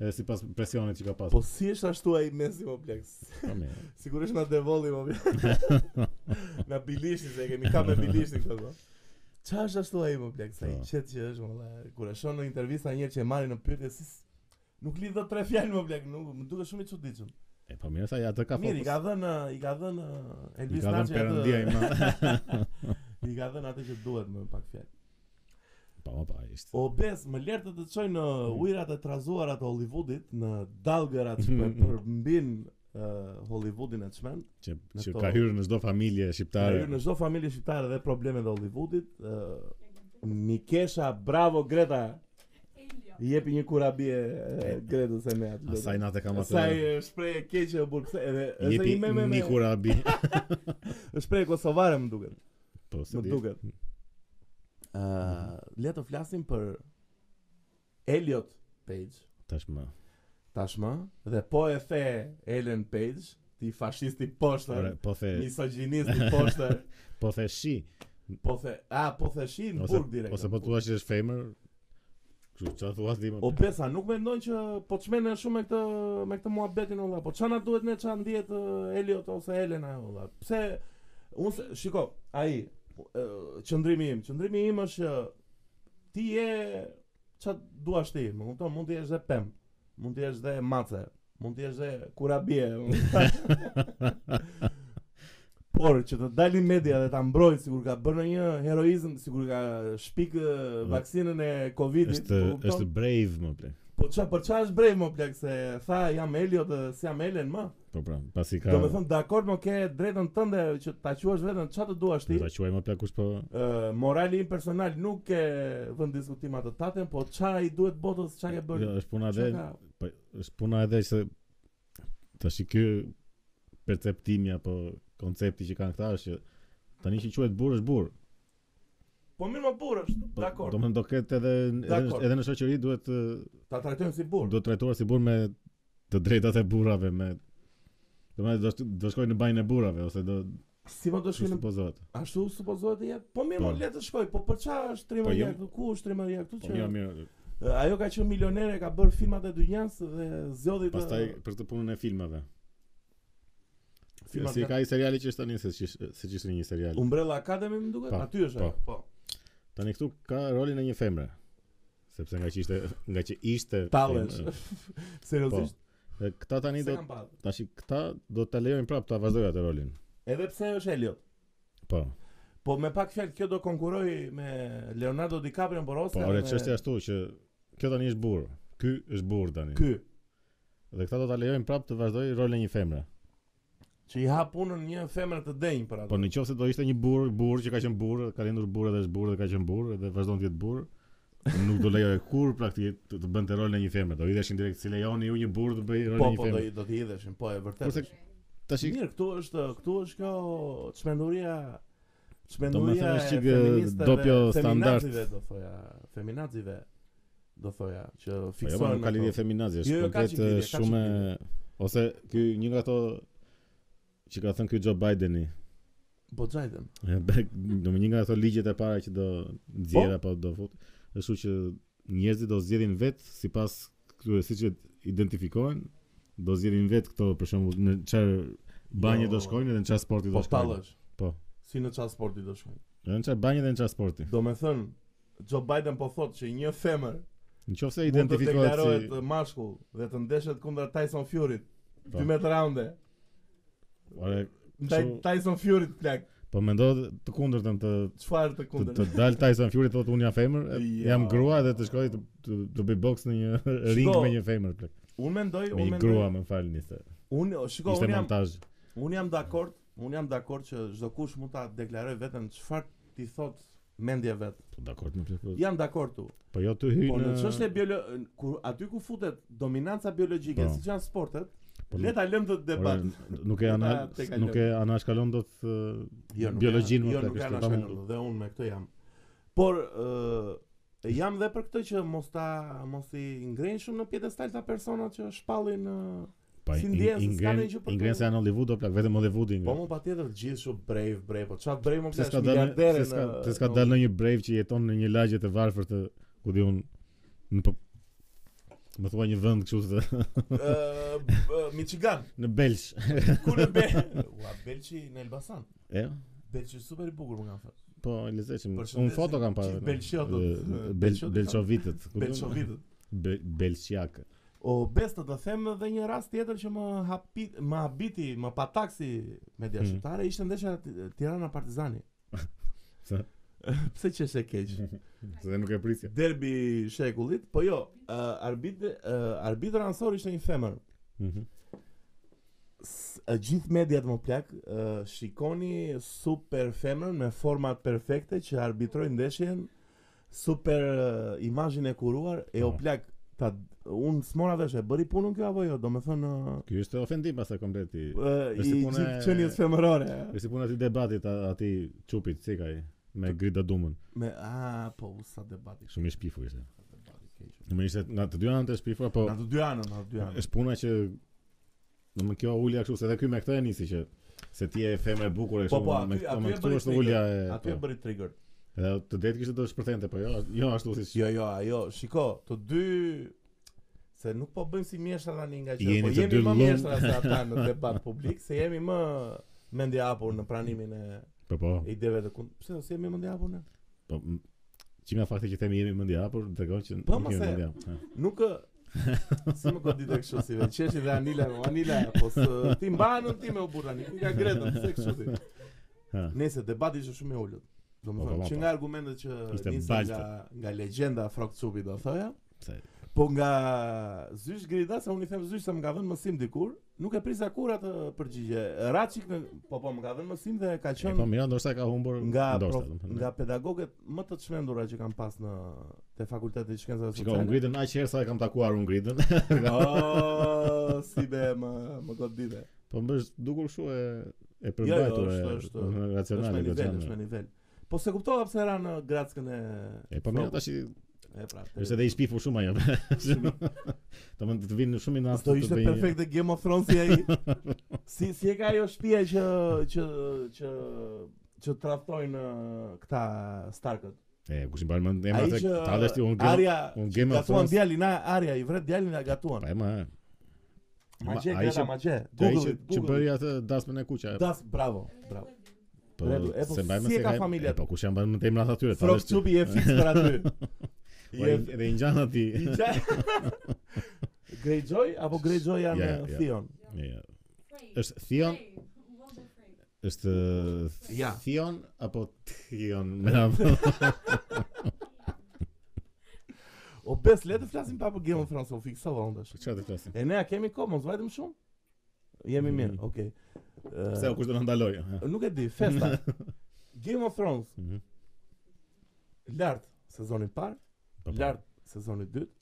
Speaker 2: Edhe sipas presionit që ka pasur.
Speaker 1: Po si është ashtu ai Messi më pleks?
Speaker 2: Po mirë.
Speaker 1: Sigurisht na devolli më pleks. na bilishti se e kemi ka me bilishti këto. po. Qa është ashtu ai më pleks? Ai
Speaker 2: Po.
Speaker 1: qet që është më kur e shon në intervista njerë që e marrin në pyetje si s- nuk lidh dot tre fjalë më plek, nuk më duket shumë i çuditshëm.
Speaker 2: E po mirë sa ja të ka
Speaker 1: Mirë, i
Speaker 2: fokus.
Speaker 1: ka dhënë i ka dhënë uh,
Speaker 2: I
Speaker 1: Elvis
Speaker 2: ka dhënë
Speaker 1: Naçi
Speaker 2: perëndia i
Speaker 1: atë.
Speaker 2: madh.
Speaker 1: I ka dhënë atë që duhet më pak fjalë.
Speaker 2: Po po, po, ishte.
Speaker 1: O bes, më lërë të të qoj në ujrat e trazuarat të Hollywoodit, në dalgërat që për- përmbin uh, Hollywoodin e çmend.
Speaker 2: Që
Speaker 1: Në
Speaker 2: që
Speaker 1: to-
Speaker 2: ka hyrë në çdo familje
Speaker 1: Ka
Speaker 2: shqiptare.
Speaker 1: hyrë në çdo familje shqiptare dhe problemet e Hollywoodit. Uh, Mikesha, bravo Greta. I jepi një kurabie e, Gretës e me atë.
Speaker 2: Asaj natë kam atë.
Speaker 1: Asaj e, shpreh e keqe e burkse edhe
Speaker 2: i
Speaker 1: edhe
Speaker 2: jepi
Speaker 1: i meme me
Speaker 2: një kurabi.
Speaker 1: shpreh kosovare më duket.
Speaker 2: Po se
Speaker 1: Më
Speaker 2: di.
Speaker 1: duket.
Speaker 2: Hmm.
Speaker 1: Ë, le të flasim për Elliot Page.
Speaker 2: Tashmë.
Speaker 1: tashmë dhe po e the Ellen Page, ti fashisti
Speaker 2: Ore,
Speaker 1: poshtër,
Speaker 2: po the
Speaker 1: misogjinisti poshtër,
Speaker 2: po the shi
Speaker 1: po the, a po the shi në
Speaker 2: ose
Speaker 1: burg direkt.
Speaker 2: ose po thua që është femër. Kështu çfarë thua ti më?
Speaker 1: O besa, nuk mendojnë që po çmenden shumë me këtë me këtë muhabetin olla. Po çana duhet ne çan ndihet ë, Elliot ose Elena olla. Pse unë se- shiko, ai ë, qëndrimi im, qëndrimi im është që ti je çat duash ti, më kupton, mund të jesh dhe pem, mund të jesh dhe mace, mund të jesh dhe kurabie. më kupton? Por që të dalin media dhe ta mbrojnë sikur ka bërë një heroizëm, sikur ka shpik ë, vaksinën e Covidit.
Speaker 2: është
Speaker 1: më po kupton?
Speaker 2: është brave më plak.
Speaker 1: Po qa, për qa është brejmë, më plak, se tha jam Elliot dhe si jam Ellen, më.
Speaker 2: Po pra, pasi ka
Speaker 1: Do me thëmë, dakord më ke drejtën tënde që ta quash vetën qa të duash ti.
Speaker 2: Do ta quaj më plak kush po
Speaker 1: Ë, morali im personal nuk ke vënë diskutim atë tatën, po qa i duhet botës, qa ke bërë.
Speaker 2: Jo, është puna
Speaker 1: Qa
Speaker 2: edhe
Speaker 1: ka...
Speaker 2: po është puna edhe se tash i ky perceptimi apo koncepti që kanë këta është që tani që quhet burr është burr.
Speaker 1: Po mirë më burë është,
Speaker 2: Po,
Speaker 1: dakord.
Speaker 2: Do më thënë, do ketë edhe edhe
Speaker 1: Dakord.
Speaker 2: në- edhe në shoqëri duhet të-
Speaker 1: Ta trajtojmë si burë.
Speaker 2: duhet trajtuar si burr me të drejtat e burrave me Do më thënë, do shk- do shkojnë në bajin e burrave ose do
Speaker 1: Si më do
Speaker 2: Kështu
Speaker 1: shkojnë,
Speaker 2: supozohet.
Speaker 1: ashtu supozohet të jetë? Po mirë më
Speaker 2: Po.
Speaker 1: le të shkoj, po për qa është
Speaker 2: jo-
Speaker 1: trimëria këtu, ku është trimëria këtu
Speaker 2: Po
Speaker 1: që...
Speaker 2: mirë, mirë.
Speaker 1: Ë, Ajo ka qenë milionere, ka bërë filmat e dynjas dhe zjodhi të...
Speaker 2: Pastaj për të punën e filmave.
Speaker 1: filmat
Speaker 2: Si
Speaker 1: ka-
Speaker 2: ka ai seriali që është tani se qish- se qishte një serial.
Speaker 1: Umbrella Academy më duket,
Speaker 2: Po,
Speaker 1: aty është
Speaker 2: po.
Speaker 1: ajo. Po.
Speaker 2: Tani këtu ka rolin e një femre. Sepse nga që ishte nga që ishte
Speaker 1: Tallesh.
Speaker 2: femre, Po.
Speaker 1: Seriozisht,
Speaker 2: Dhe këta tani
Speaker 1: se
Speaker 2: do
Speaker 1: kam pasur.
Speaker 2: tash këta do ta lejojnë prapë ta vazhdojë atë rolin.
Speaker 1: Edhe pse është Elliot.
Speaker 2: Po.
Speaker 1: Po me pak fjalë kjo do konkuroj me Leonardo DiCaprio për
Speaker 2: Po
Speaker 1: Oscar.
Speaker 2: ore
Speaker 1: me-
Speaker 2: çështja ashtu që kjo tani është burr. Ky është burr tani.
Speaker 1: ky
Speaker 2: Dhe këta do ta lejojnë prapë të vazhdojë rolin e një femre.
Speaker 1: që i hap punën një femër të denjë për
Speaker 2: Po
Speaker 1: atë.
Speaker 2: në qoftë se do ishte një burr, burr që ka qenë burr, ka lindur burr edhe është burr dhe ka qenë burr dhe vazhdon të jetë burr, nuk do lejoj kur praktikisht të, të bënte rolin e një femre. Do idheshin direkt si lejoni ju një burr të bëj rolin
Speaker 1: Po
Speaker 2: e një
Speaker 1: po do
Speaker 2: femre.
Speaker 1: i do të hidheshin, po e vërtet.
Speaker 2: Kurse
Speaker 1: është.
Speaker 2: tash i- Po,
Speaker 1: mirë, këtu është këtu është kjo çmenduria
Speaker 2: Do me
Speaker 1: çmenduria
Speaker 2: thënë
Speaker 1: e
Speaker 2: është qik,
Speaker 1: feministëve,
Speaker 2: dopjo
Speaker 1: feminazive,
Speaker 2: standard.
Speaker 1: do thoja, feminazive do thoja, që
Speaker 2: Po jo, ma
Speaker 1: fiksohen
Speaker 2: nuk ka
Speaker 1: me
Speaker 2: lidhje
Speaker 1: këto.
Speaker 2: feminazi,
Speaker 1: Jo,
Speaker 2: është
Speaker 1: jo, ka
Speaker 2: komplet
Speaker 1: qik lidhje,
Speaker 2: eh,
Speaker 1: ka qik
Speaker 2: shumë
Speaker 1: lidhje.
Speaker 2: ose ky një nga ato që ka thënë ky Joe Bideni.
Speaker 1: Po xhajtën.
Speaker 2: e, back- Do më një nga ato ligjet e para që do
Speaker 1: Po?
Speaker 2: nxjerr apo do fut. Është kështu që njerëzit do zgjedhin vet sipas këtyre siç identifikohen, do zgjedhin vet këto për shembull në çfarë banje do
Speaker 1: Jo.
Speaker 2: shkojnë edhe në çfarë sporti
Speaker 1: Po
Speaker 2: do shkojnë.
Speaker 1: tallësh.
Speaker 2: Po.
Speaker 1: Si në çfarë sporti do shkojnë.
Speaker 2: Edhe në çfarë banje dhe në çfarë sporti.
Speaker 1: Do me thënë, Joe Biden po thotë që një femër
Speaker 2: Nëse
Speaker 1: mund të
Speaker 2: identifikohet
Speaker 1: deklarohet
Speaker 2: si
Speaker 1: mashkull dhe të ndeshet kundër Tyson Furyt
Speaker 2: Po.
Speaker 1: 2 metra raunde.
Speaker 2: Ore,
Speaker 1: Ndaj
Speaker 2: Kështu-
Speaker 1: Tyson Furyt plak.
Speaker 2: po mendo të kundërtën të
Speaker 1: Çfarë të
Speaker 2: të, të
Speaker 1: kundër?
Speaker 2: dal Tyson Fury thotë unë jam femër,
Speaker 1: Jo.
Speaker 2: jam grua dhe të shkoj të të, të bëj boks në një ring me një femër plak.
Speaker 1: Unë mendoj,
Speaker 2: Me
Speaker 1: unë
Speaker 2: një
Speaker 1: mendoj.
Speaker 2: grua, më falni se.
Speaker 1: Unë, o, shiko,
Speaker 2: Ishte
Speaker 1: unë jam
Speaker 2: montazh.
Speaker 1: Unë jam dakord, unë jam dakord që çdo kush mund ta deklaroj veten çfarë ti thot mendje vet.
Speaker 2: Po dakord më plak. po-
Speaker 1: Jam dakord tu.
Speaker 2: Po jo të hyj
Speaker 1: Po në
Speaker 2: në
Speaker 1: çështje biolo kur aty ku futet dominanca biologjike,
Speaker 2: Po.
Speaker 1: siç janë sportet,
Speaker 2: Po
Speaker 1: le
Speaker 2: nuk-
Speaker 1: ta lëm të debat.
Speaker 2: ore, nuk e
Speaker 1: Ta-
Speaker 2: anal,
Speaker 1: te kaloj.
Speaker 2: nuk e anashkalon dot ë,
Speaker 1: nuk
Speaker 2: biologjinë
Speaker 1: janë-
Speaker 2: më
Speaker 1: jo,
Speaker 2: plak.
Speaker 1: nuk
Speaker 2: është
Speaker 1: janë
Speaker 2: ta
Speaker 1: ashtu
Speaker 2: mund-
Speaker 1: janë, dhe unë me këtë jam. Por ë jam dhe për këtë që mos ta mos i ngrenë shumë në pjedestal ta persona që shpallin ë,
Speaker 2: Pa
Speaker 1: si ndjen, s'ka
Speaker 2: ingren,
Speaker 1: ndonjë gjë për të-
Speaker 2: ingren se janë Hollywood o plak, vetëm Hollywoodi.
Speaker 1: po
Speaker 2: ingren.
Speaker 1: më patjetër të gjithë shumë brave, brave, po çfarë brave më
Speaker 2: Pse s'ka
Speaker 1: është
Speaker 2: dalë
Speaker 1: miliardere
Speaker 2: pse s'ka
Speaker 1: në-
Speaker 2: pse s'ka
Speaker 1: në-
Speaker 2: dalë ndonjë brave që jeton në një lagje të varfër të ku diun në po- më thua një vend kështu të
Speaker 1: ë, b- Michigan.
Speaker 2: në Belsh.
Speaker 1: Ku në Bel... Ua, Belqi në Elbasan.
Speaker 2: E?
Speaker 1: Belqi është super i bukur më kanë thënë.
Speaker 2: Po, e lezeqim.
Speaker 1: Përshëndetje.
Speaker 2: Unë foto kam parë.
Speaker 1: Gjithë Belqiotët,
Speaker 2: Eh, Bel
Speaker 1: Belqotët.
Speaker 2: Belçovitët. ku Po, do-
Speaker 1: Belçovitët.
Speaker 2: Be- Belçiak.
Speaker 1: O Besta të them edhe një rast tjetër që më hapi, më habiti, më pataksi media
Speaker 2: Hmm.
Speaker 1: shqiptare ishte ndeshja Ti- Tirana Partizani.
Speaker 2: Pse?
Speaker 1: Pse që është e keq?
Speaker 2: Se dhe nuk e prisja.
Speaker 1: Derbi i shekullit, po jo, uh, arbitri uh, arbitri ansor ishte një femër.
Speaker 2: Mhm.
Speaker 1: S- e gjithë mediat më plak e, shikoni super femrën me format perfekte që arbitroj ndeshjen super e, imazhin e kuruar e o
Speaker 2: Po.
Speaker 1: plak ta un smora vesh e bëri punën kjo apo jo do me thënë
Speaker 2: Ky është ofendim pastaj komplet i.
Speaker 1: e,
Speaker 2: Është
Speaker 1: i
Speaker 2: puna
Speaker 1: gjithë
Speaker 2: e-
Speaker 1: qenies femërore
Speaker 2: Është si puna e debatit a- aty çupit, si ka ai me Grida Dumën.
Speaker 1: me a po u, sa debati kështu
Speaker 2: Shumë i shpifur ishte.
Speaker 1: debati keq
Speaker 2: Do më ishte nga të dy anët e shpifur, po
Speaker 1: na të dy anët na të dy anët
Speaker 2: është puna që do më kjo ulja kështu se edhe ky me këtë e nisi që se ti je femër e bukur e
Speaker 1: Po,
Speaker 2: kështu.
Speaker 1: po,
Speaker 2: me
Speaker 1: aty-
Speaker 2: këto-
Speaker 1: aty
Speaker 2: me
Speaker 1: e
Speaker 2: këtu
Speaker 1: bëri
Speaker 2: është
Speaker 1: trigger.
Speaker 2: ulja e.
Speaker 1: aty e
Speaker 2: po.
Speaker 1: bëri trigger
Speaker 2: Edhe të det kishte do të shpërthente, po jo, jo ashtu si
Speaker 1: jo jo ajo shiko të dy se nuk po bëjmë si mjeshtra tani nga që
Speaker 2: Jeni
Speaker 1: po
Speaker 2: të
Speaker 1: jemi
Speaker 2: dy
Speaker 1: më
Speaker 2: llong.
Speaker 1: mjeshtra se ata në debat publik se jemi më mendje hapur në pranimin e
Speaker 2: Po po.
Speaker 1: ideve të kund. Pse si jemi mendje hapur ne?
Speaker 2: Po m- që nga fakti që themi jemi mendje hapur, tregon që
Speaker 1: Po,
Speaker 2: nuk
Speaker 1: mos e-
Speaker 2: jemi mendje hapur.
Speaker 1: Nuk ë, si më godit e kështu si vetë qeshi dhe Anila Anila po së, ti mbanën ti me u burr tani ku ka gretën pse kështu ti
Speaker 2: Ha.
Speaker 1: nëse debati ishte shumë i ulët
Speaker 2: Po, po,
Speaker 1: domethënë
Speaker 2: po,
Speaker 1: që
Speaker 2: po.
Speaker 1: nga argumentet që
Speaker 2: Ishte
Speaker 1: nisën
Speaker 2: baltë.
Speaker 1: nga nga legjenda Frok Cupi do thoja
Speaker 2: Pse?
Speaker 1: Po nga Zysh Grida, se unë i them Zysh se më ka dhënë mësim dikur, nuk e prisa kur atë përgjigje. Raçik në, po po më ka dhënë mësim dhe ka
Speaker 2: E, po
Speaker 1: qenë
Speaker 2: mira, ndoshta ka humbur
Speaker 1: nga
Speaker 2: ndoshta.
Speaker 1: prof,
Speaker 2: domethënë.
Speaker 1: nga pedagogët më të çmendura që kam pas në te Fakulteti i Shkencave
Speaker 2: Shiko, unë
Speaker 1: Sociale.
Speaker 2: gritën aq herë sa e kam takuar unë gritën.
Speaker 1: Oh, si be më më godite.
Speaker 2: po më bësh dukur kështu e e përmbajtur.
Speaker 1: Jo, është-
Speaker 2: e-
Speaker 1: është-
Speaker 2: domethënë
Speaker 1: Është me
Speaker 2: racionale
Speaker 1: nivel,
Speaker 2: goxhane.
Speaker 1: është me nivel. Po se kuptova pse ra në Grackën e
Speaker 2: E po mira tash i-
Speaker 1: E pra.
Speaker 2: është edhe i shpifur shumë ajo. Domethënë të vinë shumë i nas.
Speaker 1: Do Po ishte perfekte Game of Thrones si ai. si si e ka ajo shtëpia që që që që tradhtojnë ë, këta Starkët.
Speaker 2: E kush i mban mend emrat
Speaker 1: Ai
Speaker 2: e
Speaker 1: që
Speaker 2: tallesh ti unë gritën.
Speaker 1: Arya
Speaker 2: unë
Speaker 1: që
Speaker 2: Game of
Speaker 1: gatuan
Speaker 2: Thrones-
Speaker 1: djalin, a- Arya i vret djalin e
Speaker 2: Po
Speaker 1: gatuan.
Speaker 2: e ma. e. Ma-
Speaker 1: Magje,
Speaker 2: ai
Speaker 1: Greta
Speaker 2: që-
Speaker 1: magje.
Speaker 2: Ai
Speaker 1: Google
Speaker 2: që
Speaker 1: it,
Speaker 2: që
Speaker 1: Google.
Speaker 2: bëri
Speaker 1: it.
Speaker 2: atë dasmën e kuqe.
Speaker 1: Das bravo, bravo.
Speaker 2: Po,
Speaker 1: Redu, e, po,
Speaker 2: se mbajmë
Speaker 1: si e
Speaker 2: se
Speaker 1: ka
Speaker 2: ka-
Speaker 1: familja?
Speaker 2: e, Po kush janë mend emrat atyre?
Speaker 1: Frog
Speaker 2: tallesh ti.
Speaker 1: Cupi je fix për aty.
Speaker 2: Po,
Speaker 1: Je
Speaker 2: i- Edhe i ngjan aty.
Speaker 1: i qaj. Greyjoy apo Greyjoy janë
Speaker 2: Ja, ja.
Speaker 1: Theon?
Speaker 2: Ja, ja. Është Theon, është
Speaker 1: Ja.
Speaker 2: Theon apo Theon? Më
Speaker 1: O bes, le të flasim pa për Game of Thrones, u fiksova unë tash.
Speaker 2: Çfarë të flasim?
Speaker 1: E ne a kemi kohë, mos vajtëm shumë? Jemi
Speaker 2: Mhm.
Speaker 1: mirë, okej. Ë,
Speaker 2: Pse o kush do na ndaloj? ha?
Speaker 1: Nuk e di, festa. Game of Thrones,
Speaker 2: Mhm.
Speaker 1: lart sezoni i parë,
Speaker 2: Po, po.
Speaker 1: lart sezoni i dytë,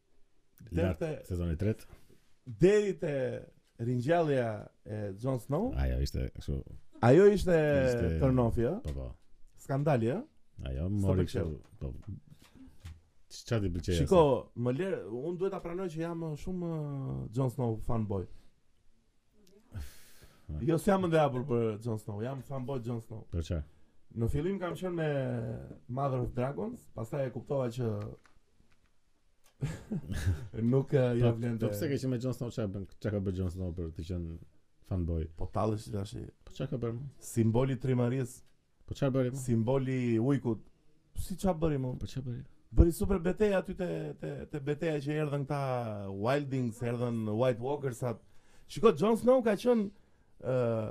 Speaker 2: Lart
Speaker 1: derte-
Speaker 2: sezoni 3.
Speaker 1: deri te ringjallja e Jon Snow.
Speaker 2: Ajo ishte kështu,
Speaker 1: Ajo ishte
Speaker 2: Ah.
Speaker 1: jo?
Speaker 2: Ishte-
Speaker 1: turn off, ja?
Speaker 2: po po.
Speaker 1: jo? Skandali, ja?
Speaker 2: Ajo
Speaker 1: Sa
Speaker 2: mori
Speaker 1: të
Speaker 2: kështu, po. Çfarë ti pëlqej?
Speaker 1: Shiko, më lër, unë duhet ta pranoj që jam uh, shumë uh, Jon Snow fanboy. Jo se jam ndabur për Jon Snow, jam fanboy Jon Snow.
Speaker 2: Për Po, çfarë?
Speaker 1: Në fillim kam qenë me Mother of Dragons, pastaj e kuptova që nuk uh, ja
Speaker 2: Po,
Speaker 1: vlen
Speaker 2: Po pse
Speaker 1: të...
Speaker 2: ke qenë me Jon Snow çfarë bën? Çka ka bërë Jon Snow për të qenë fanboy?
Speaker 1: Po tallesh tash.
Speaker 2: Po çka ka bërë? mo?
Speaker 1: Simboli trimaris,
Speaker 2: Po çfarë bëri më?
Speaker 1: simboli ujkut. Si qa bëri më?
Speaker 2: Po çfarë bëri?
Speaker 1: Bëri super betejë aty te te te beteja që erdhën këta Wildings, erdhën White Walkers atë. Shiko Jon Snow ka qenë ë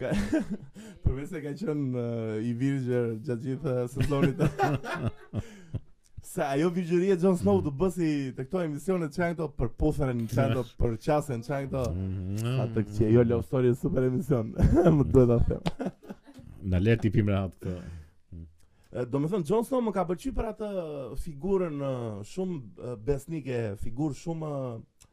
Speaker 1: ka përveç se ka qenë ë, i virgjër gjatë gjithë ë, sezonit. Sa ajo virgjëria Jon Snow të bësi të këto emisione që janë këto për puthën, që janë këto për qasën, që
Speaker 2: Po.
Speaker 1: janë këto Po.
Speaker 2: Mhm. Mm.
Speaker 1: Sa të këqe, jo love story është super emision, më duhet ta them.
Speaker 2: Na lër ti pim rahat këtë.
Speaker 1: E, Do me thënë, Jon Snow më ka pëlqy për atë figurën e, shumë e, besnike, figurë shumë... e,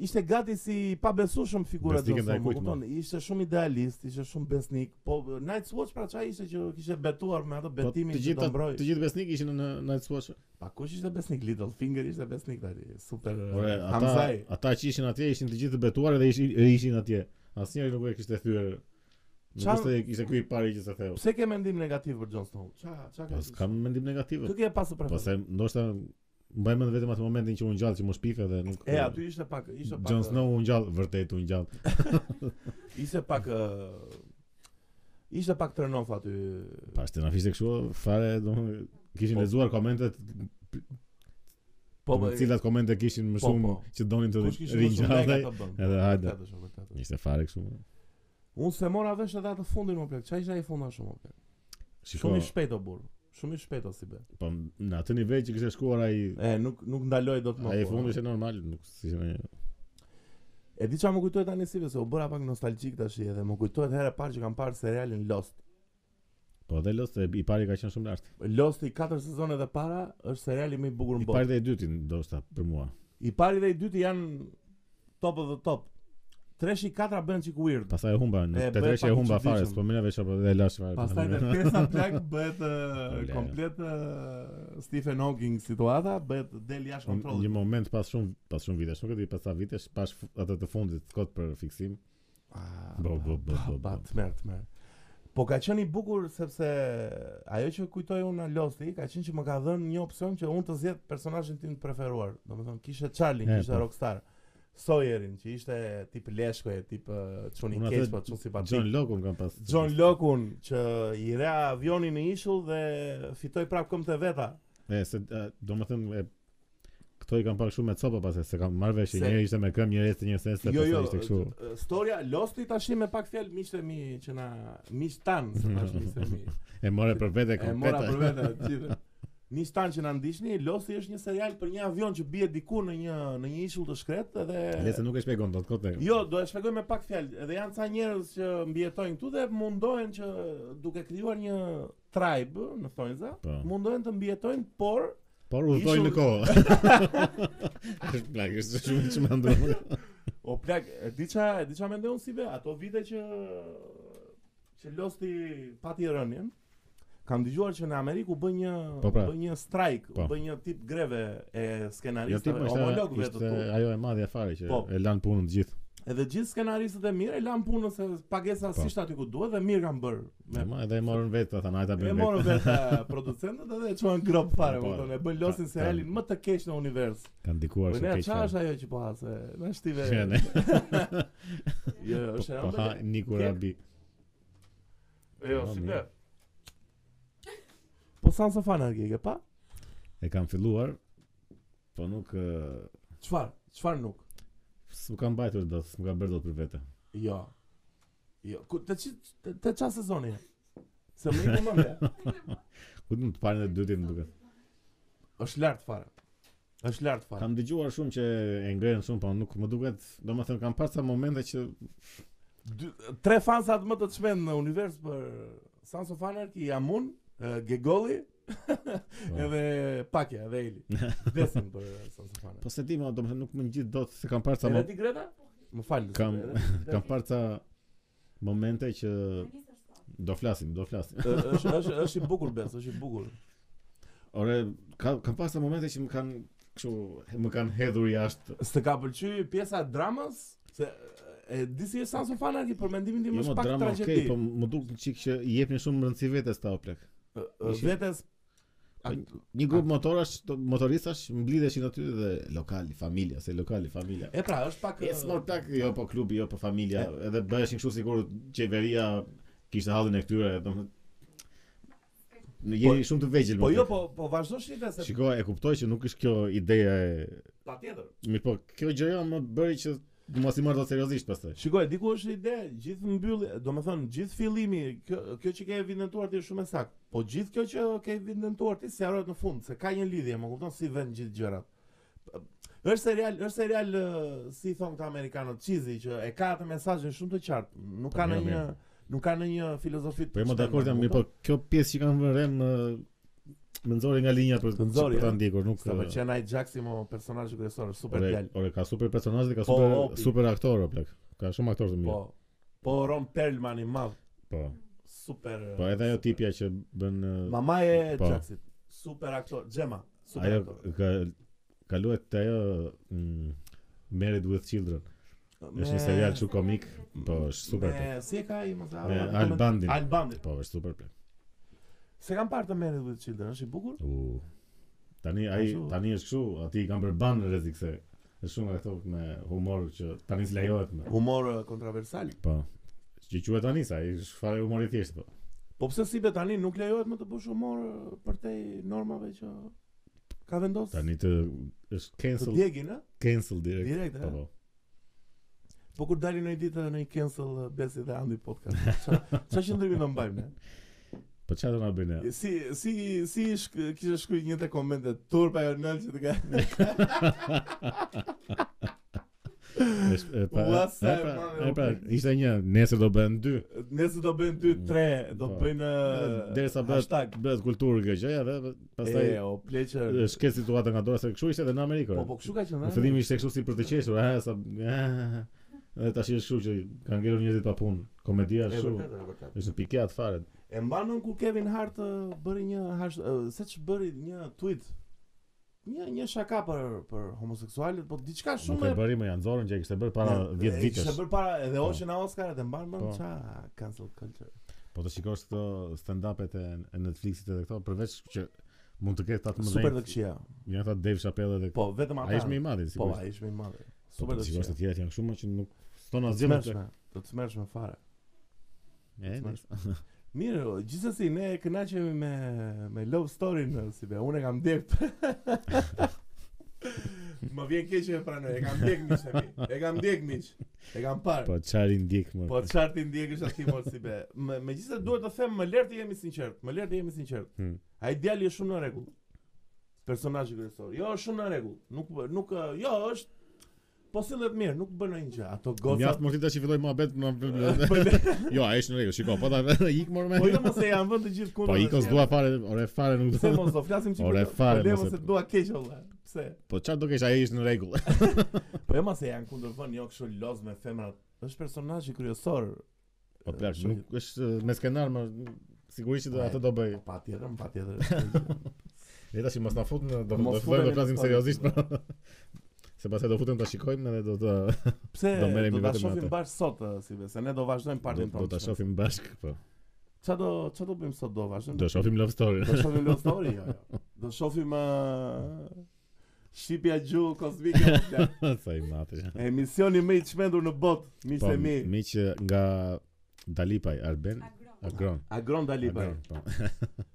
Speaker 1: Ishte gati si pa besushëm figura
Speaker 2: Besnike
Speaker 1: Jon Snow,
Speaker 2: ndaj po.
Speaker 1: më
Speaker 2: kujt,
Speaker 1: kupton, ishte shumë idealist, ishte shumë besnik, po e, Night's Watch pra çaj ishte që kishte betuar me atë
Speaker 2: Po
Speaker 1: betimin
Speaker 2: të
Speaker 1: që
Speaker 2: gjithë
Speaker 1: do mbroj.
Speaker 2: të gjithë besnik ishin në Night Watch.
Speaker 1: Pa kush ishte besnik, Littlefinger ishte besnik tani, super e,
Speaker 2: Ore, Po, ata
Speaker 1: Hamzaj.
Speaker 2: ata që ishin atje ishin të gjithë të betuar dhe ishin ishin atje. Asnjëri nuk e kishte thyer. Nuk
Speaker 1: Qa-
Speaker 2: ishte ishte ky i pari që sa theu.
Speaker 1: Pse ke mendim negativ për Jon Snow? Qa, qa
Speaker 2: Po
Speaker 1: ka?
Speaker 2: s'kam mendim negativ.
Speaker 1: Kë ke pasur
Speaker 2: Po
Speaker 1: preferencë?
Speaker 2: se ndoshta mbaj mend vetëm atë momentin që u ngjall që më shpife dhe nuk
Speaker 1: E, aty ishte pak, ishte pak.
Speaker 2: Jon
Speaker 1: e,
Speaker 2: Snow u ngjall, vërtet u ngjall.
Speaker 1: Ishte pak ë Ishte pak turn off aty.
Speaker 2: Pa ishte na fishte kështu, fare domethënë kishin
Speaker 1: Po.
Speaker 2: lexuar komentet,
Speaker 1: Po
Speaker 2: të
Speaker 1: po.
Speaker 2: cilat komente kishin më
Speaker 1: Po,
Speaker 2: shumë
Speaker 1: po.
Speaker 2: që donin të
Speaker 1: Kush kishte më shumë like
Speaker 2: ringjallej.
Speaker 1: atë bën.
Speaker 2: Edhe hajde.
Speaker 1: Vërtet është, vërtet është.
Speaker 2: Ishte fare kështu.
Speaker 1: Unë se mora vesh edhe atë fundin më plak. Çai ishte ai funda shumë më plak.
Speaker 2: Shiko,
Speaker 1: Shumë i shpejt o burr. Shumë i shpejt o si be.
Speaker 2: po në atë nivel që kishte shkuar ai
Speaker 1: E nuk nuk ndaloi dot më.
Speaker 2: ai
Speaker 1: po.
Speaker 2: fundi ishte normal, nuk ishte një-
Speaker 1: E di çfarë më kujtohet tani si be, se u bëra pak nostalgjik tash edhe më kujtohet herë e parë që kam parë serialin Lost.
Speaker 2: Po dhe Lost e- i pari ka qenë shumë lart.
Speaker 1: Lost i 4 sezone dhe para është seriali më i bukur
Speaker 2: I
Speaker 1: në
Speaker 2: pari
Speaker 1: botë.
Speaker 2: dhe i dyti ndoshta për mua.
Speaker 1: I pari dhe i dyti janë top of the top. Treshi i katra bën çik weird.
Speaker 2: Pastaj e humba,
Speaker 1: E,
Speaker 2: në
Speaker 1: bëhet
Speaker 2: tetë
Speaker 1: pak
Speaker 2: e
Speaker 1: i
Speaker 2: humba fare,
Speaker 1: çuditshëm.
Speaker 2: s'po mëna veç apo dhe e lash fare. po
Speaker 1: Pastaj në pjesa plak bëhet eh,
Speaker 2: Ole.
Speaker 1: komplet eh, Stephen Hawking situata, bëhet del jashtë
Speaker 2: Në Një
Speaker 1: kontrollit.
Speaker 2: moment pas shumë pas shumë vitesh, nuk e di pas sa vitesh, pas f- atë të fundit kot për fiksim.
Speaker 1: Ah,
Speaker 2: Bo, bo, bo,
Speaker 1: ba,
Speaker 2: bo,
Speaker 1: ba,
Speaker 2: bo.
Speaker 1: tmer, tmer. Po ka qenë i bukur sepse ajo që kujtoj unë në Losti, ka qenë që më ka dhënë një opsion që unë të zgjedh personazhin tim të preferuar. Domethënë kishte Charlie,
Speaker 2: E,
Speaker 1: kishte
Speaker 2: po.
Speaker 1: Rockstar, Sawyerin që ishte tip Leshkoje, tip eh, Johnny
Speaker 2: Unë atë
Speaker 1: Cage, po çon
Speaker 2: John
Speaker 1: simpatik.
Speaker 2: Locke un kam pas.
Speaker 1: John Locke-un që i ra avionin në ishull dhe fitoi prapë këmbët e veta.
Speaker 2: E se e, domethënë e këto i kam pak shumë me copa pas e, se kam marrë vesh që
Speaker 1: Se-
Speaker 2: njëri ishte me këmbë, njëri ishte një sesë,
Speaker 1: Jo, jo,
Speaker 2: ishte kështu.
Speaker 1: e, storia Losti tash me pak fjalë miqtë mi që na miq tan, se tash miqtë mi.
Speaker 2: E morë për vete
Speaker 1: E mora për
Speaker 2: komplet.
Speaker 1: vete gjithë. Miq tan që na ndiqni, Losti është një serial për një avion që bie diku në një në një ishull të shkretë
Speaker 2: Le se
Speaker 1: dhe
Speaker 2: nuk e shpjegon dot kot. e.
Speaker 1: Jo, do e shpjegoj me pak fjalë. Edhe janë ca njerëz që mbijetojnë këtu dhe mundohen që duke krijuar një tribe në thonjza,
Speaker 2: Po.
Speaker 1: mundohen të mbijetojnë, por
Speaker 2: Por u thoi në
Speaker 1: Ishull-
Speaker 2: kohë. Është plak, është shumë që më ndron.
Speaker 1: O plak, e di qa, e di qa mendoj unë si be, ato vite që që Losti pati rënien, kam dëgjuar që në Amerikë u bë një
Speaker 2: Po pra.
Speaker 1: u bë një strike,
Speaker 2: Po.
Speaker 1: u bë një tip greve e
Speaker 2: Jo ti
Speaker 1: skenaristëve,
Speaker 2: më
Speaker 1: homologëve
Speaker 2: ishte
Speaker 1: të tu.
Speaker 2: ajo e madhe fare që
Speaker 1: Po.
Speaker 2: e lan punën të gjithë.
Speaker 1: Edhe gjithë skenaristët e mirë e lanë punën se pagesa
Speaker 2: Po.
Speaker 1: si aty ku duhet dhe mirë kanë bërë. Me
Speaker 2: Ma edhe e morën vetë, ata na ata
Speaker 1: E
Speaker 2: bën
Speaker 1: morën
Speaker 2: vetë.
Speaker 1: vetë producentët edhe e çuan grop fare,
Speaker 2: Po,
Speaker 1: më thonë, e bën losin
Speaker 2: ta-
Speaker 1: serialin më të keq në univers.
Speaker 2: Kan
Speaker 1: Po
Speaker 2: dikuar
Speaker 1: ne
Speaker 2: shumë keq. fare.
Speaker 1: çfarë është ajo që po hase? Na shtive.
Speaker 2: Që ne,
Speaker 1: Jo, është
Speaker 2: Po
Speaker 1: e
Speaker 2: ha
Speaker 1: ëmbël.
Speaker 2: Nikurabi.
Speaker 3: Jo,
Speaker 2: Po,
Speaker 3: si
Speaker 2: mirë.
Speaker 3: be.
Speaker 1: Po Sans of Anarchy e ke pa?
Speaker 2: E kam filluar, po nuk ë,
Speaker 1: Çfar? Çfar nuk?
Speaker 2: s'u kam bajtur dot, s'u kam bërë dot për vete.
Speaker 1: Jo. Jo, ku te çi te- te çfarë sezoni je? Se më iku mendja.
Speaker 2: U të parën e dytin më duket.
Speaker 1: Është lart fare. Është lart fare.
Speaker 2: Kam dëgjuar shumë që e ngrenë shumë, po nuk më duket, domethënë kam pasur sa momente që
Speaker 1: Dy, tre fansat më të çmend në univers për Sons of Anarchy jam unë, e, Gegolli edhe Pakja edhe Eli. Vdesim për Sons of Anarchy.
Speaker 2: po se di më, domethënë nuk më ngjit dot se kam pasur sa
Speaker 1: Edhe
Speaker 2: mo-
Speaker 1: ti Greta? Më fal. Lësime,
Speaker 2: Kam-
Speaker 1: edhe ti, Greta.
Speaker 2: kam pasur sa momente që do flasim, do flasim.
Speaker 1: Ë, është është është i bukur bes, është i bukur.
Speaker 2: Ore, ka kam pasur momente që më kanë kështu më kanë hedhur jashtë.
Speaker 1: S'të ka pëlqy pjesa e dramës? Se e di si e sa su fanarki për mendimin tim
Speaker 2: Jo
Speaker 1: është
Speaker 2: më
Speaker 1: pak
Speaker 2: drama,
Speaker 1: tragjedi.
Speaker 2: okay, po më duk çik që i jepnin shumë rëndësi vetes ta o plak.
Speaker 1: Ë, ë,
Speaker 2: Ishin-
Speaker 1: Vetes
Speaker 2: Po, Një grup motorash, të- motoristash mblidheshin aty dhe lokali, familja, se lokali, familja.
Speaker 1: E pra, është pak
Speaker 2: Yes, më plak, jo po klubi, jo po familja, edhe bëheshin kështu sikur qeveria kishte hallin e këtyre, domethënë Në jeni shumë të vegjël.
Speaker 1: Po
Speaker 2: më
Speaker 1: jo,
Speaker 2: plak.
Speaker 1: po po vazhdo shite se
Speaker 2: Shiko, e kuptoj që nuk është kjo ideja e
Speaker 1: patjetër.
Speaker 2: Mirë po, kjo gjëja më bëri që mos i marr dot seriozisht pastaj.
Speaker 1: Shikoj, diku është ide, gjithë mbylli, domethënë gjithë fillimi, kjo, kjo që ke evidentuar ti është shumë e saktë. Po gjithë kjo që ke evidentuar ti sqarohet në fund, se ka një lidhje, më kupton si vën gjithë gjërat. Është serial, është serial ë, si thon këta amerikanët, cheesy që e ka atë mesazhin shumë të qartë. Nuk ka
Speaker 2: Po, mirë,
Speaker 1: ndonjë nuk ka ndonjë filozofi.
Speaker 2: Po jam
Speaker 1: të
Speaker 2: dakord jam,
Speaker 1: më
Speaker 2: mirë po,
Speaker 1: kupton?
Speaker 2: kjo pjesë që kanë vënë më më nxori nga linja për
Speaker 1: Të nxori,
Speaker 2: për ta
Speaker 1: ja.
Speaker 2: ndjekur, nuk
Speaker 1: Sa po pëlqen ai Jaxi mo personazhi kryesor, super
Speaker 2: ore,
Speaker 1: djalë.
Speaker 2: ore, ka super personazh dhe ka
Speaker 1: Po,
Speaker 2: super
Speaker 1: opi.
Speaker 2: super aktor o plak. Ka shumë aktorë të
Speaker 1: Po.
Speaker 2: mirë.
Speaker 1: Po Ron Perlman i madh,
Speaker 2: Po.
Speaker 1: super.
Speaker 2: Po edhe ajo tipja që bën eh,
Speaker 1: Mamaja e
Speaker 2: Po.
Speaker 1: Jaxit, super aktor, Xhema, super
Speaker 2: ajo
Speaker 1: aktor.
Speaker 2: ka ka luajt te ajo mm, Married with Children. Është një serial shumë komik, po është super. plak.
Speaker 1: Me, si e ka ai mos e
Speaker 2: Me
Speaker 1: harrova,
Speaker 2: Al
Speaker 1: me-
Speaker 2: Bandin.
Speaker 1: Al Bandin.
Speaker 2: Po është super plak.
Speaker 1: Se kam parë të merret with children, është i bukur.
Speaker 2: U. Tani ai
Speaker 1: Ashtu.
Speaker 2: tani është kështu, aty i kanë bërë ban në rrezik se është shumë ato me humor që tani s'lejohet më.
Speaker 1: Humor eh, kontroversial.
Speaker 2: Po. Që quhet tani sa, ai është fare humor i thjeshtë po.
Speaker 1: Po pse si be tani nuk lejohet më të bësh humor eh, përtej normave që ka vendosur.
Speaker 2: Tani të është
Speaker 1: të
Speaker 2: cancel
Speaker 1: djegin, ë?
Speaker 2: cancel direkt.
Speaker 1: Direkt,
Speaker 2: Po
Speaker 1: ë?
Speaker 2: po.
Speaker 1: Po kur dalin në një ditë në një cancel eh, Besi dhe Andi podcast. Ç'a ç'a qëndrimi do mbajmë ne?
Speaker 2: Po çfarë do na bëjnë? ja?
Speaker 1: Si si si shk, kishe shkruaj një të komente turpa jo nël që të ka.
Speaker 2: Është e pa.
Speaker 1: Ua, sa
Speaker 2: e
Speaker 1: e
Speaker 2: pra-
Speaker 1: madhe,
Speaker 2: E pra,
Speaker 1: o,
Speaker 2: ishte një, nesër do bëhen dy.
Speaker 1: Nëse do bëjnë 2 3, do
Speaker 2: Po.
Speaker 1: bëjnë eh,
Speaker 2: Derisa
Speaker 1: hashtag.
Speaker 2: bëhet bëhet kulturë kjo gjë, ja, dhe pastaj
Speaker 1: E, o pleqer.
Speaker 2: është ke situata nga dora se kështu ishte edhe në Amerikë.
Speaker 1: Po
Speaker 2: ore.
Speaker 1: po kshu ka qenë.
Speaker 2: Në
Speaker 1: ë?
Speaker 2: fillim ishte kështu si për të qeshur, ha, sa ah, edhe tash është kështu që kanë ngelur njerëzit pa punë. Komedia
Speaker 1: E
Speaker 2: është kështu.
Speaker 1: vërtet, e vërtet.
Speaker 2: Është në pikë atë fare.
Speaker 1: E mbanën kur Kevin Hart ë, bëri një hash, ë, se që bëri një tweet Një, një shaka për, për homoseksualet, po diçka
Speaker 2: Nuk
Speaker 1: shumë
Speaker 2: e bëri më janë zorën që e kishte bërë para 10
Speaker 1: e
Speaker 2: vitesh.
Speaker 1: Kishte bërë para edhe
Speaker 2: Po.
Speaker 1: Oshin a Oscarat e mban mend
Speaker 2: Po.
Speaker 1: ça cancel culture.
Speaker 2: Po të shikosh këto stand-upet e e Netflixit edhe këto përveç që mund të ketë 18.
Speaker 1: Super të këshia.
Speaker 2: Janë ata Dave Chappelle edhe
Speaker 1: Po vetëm ata.
Speaker 2: ai është më i madhi
Speaker 1: Po
Speaker 2: sigurisht.
Speaker 1: ai është më i madh.
Speaker 2: Po,
Speaker 1: Super
Speaker 2: të
Speaker 1: të
Speaker 2: shikosh
Speaker 1: këshia.
Speaker 2: të tjerët janë shumë që nuk ston
Speaker 1: Do të
Speaker 2: asgjë më të.
Speaker 1: smershme, do të smershme fare.
Speaker 2: E,
Speaker 1: të
Speaker 2: nice.
Speaker 1: Mirë, o, gjithsesi ne kënaqemi me me love story-n o, si be. Unë e kam ndjek. Më vjen keq e pranoj. E kam ndjek miq e mi. E kam ndjek miq. E kam parë.
Speaker 2: Po çari ndjek më.
Speaker 1: Po çfarë ti ndjekësh aty mos si be. Me- Megjithëse duhet të them më lehtë të jemi sinqert. Më lehtë të jemi sinqert.
Speaker 2: Hmm.
Speaker 1: Ai djali është shumë në rregull. Personazhi kryesor. Jo, është shumë në rregull. Nuk bë- nuk ë, jo, është po sillet mirë, nuk bën ndonjë gjë. Ato goca
Speaker 2: Mjaft mos ti tash i filloi muhabet në Jo, ai është në rregull. Shiko, po ta ik mor me.
Speaker 1: Po jo mos e janë vënë të gjithë kundër.
Speaker 2: Po ikos dua fare, ore fare nuk
Speaker 1: Pse
Speaker 2: do.
Speaker 1: mos do flasim çikun?
Speaker 2: Ore, fare,
Speaker 1: po le
Speaker 2: mos
Speaker 1: mos
Speaker 2: e-
Speaker 1: e dua keq olla. Pse?
Speaker 2: Po çfarë do kesh ai është në rregull.
Speaker 1: Po e mos e janë kundër vën, jo kështu loz me femrat. Është personazhi kryesor.
Speaker 2: Po plak, Po, nuk është uh, me skenar, më sigurisht që do- atë do bëj.
Speaker 1: Po, Patjetër, patjetër.
Speaker 2: Le tash mos na futën, do
Speaker 1: Mos Po.
Speaker 2: do fillojmë
Speaker 1: futem në
Speaker 2: të flasim
Speaker 1: story.
Speaker 2: seriozisht. pra. Se pastaj do futem ta shikojmë edhe do të
Speaker 1: Pse
Speaker 2: Do merremi
Speaker 1: do ta
Speaker 2: vetëm me
Speaker 1: shohim
Speaker 2: atë.
Speaker 1: bash sot ë, si be, se ne do vazhdojmë
Speaker 2: do,
Speaker 1: partin
Speaker 2: do
Speaker 1: tonë.
Speaker 2: ta
Speaker 1: shme.
Speaker 2: shohim bashk, po.
Speaker 1: Ç'a do ç'a do bëjmë sot do vazhdojmë?
Speaker 2: Do shohim love story.
Speaker 1: Do shohim love story, jo, jo. Do shohim ë, Shqipja gju kozmike o plak.
Speaker 2: Sa i mati.
Speaker 1: Emisioni më i çmendur në botë, miq e mi.
Speaker 2: miq eh, nga Dalipaj Arben Agron.
Speaker 1: Agron Daliba.
Speaker 2: Agron, po.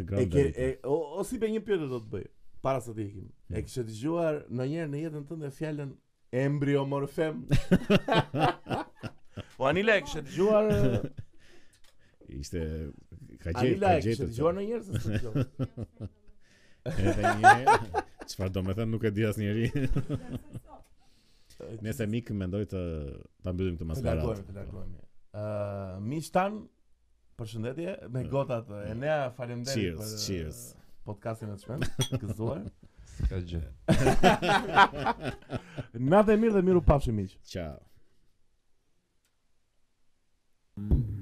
Speaker 2: Agron.
Speaker 1: E ke
Speaker 2: Dalipaj.
Speaker 1: e, o, o si be një pyetje do të bëj para se të ikim. E
Speaker 2: Mm.
Speaker 1: kishe dëgjuar ndonjëherë në jetën tënde fjalën embryomorfem?
Speaker 3: Po Anila e kështë
Speaker 1: Dëgjuar
Speaker 2: Ishte ka gjetë,
Speaker 1: Anila
Speaker 2: ka
Speaker 1: e kishe
Speaker 2: gjetë.
Speaker 1: dëgjuar ndonjëherë se jo. s'e dëgjova?
Speaker 2: Edhe një herë. Çfarë do të them nuk e di asnjëri. Nëse mik mendoj të ta mbyllim këtë
Speaker 1: të
Speaker 2: maskaradë.
Speaker 1: largohemi, të largohemi. Ë, miq tan, përshëndetje me gotat. E nea
Speaker 2: Mm. Cheers,
Speaker 1: faleminderit për ë,
Speaker 2: cheers.
Speaker 1: podcastin e çmend, gëzuar.
Speaker 4: S'ka gjë.
Speaker 1: Natë e mirë dhe miru pafshim miq.
Speaker 2: Ciao.
Speaker 5: Mm.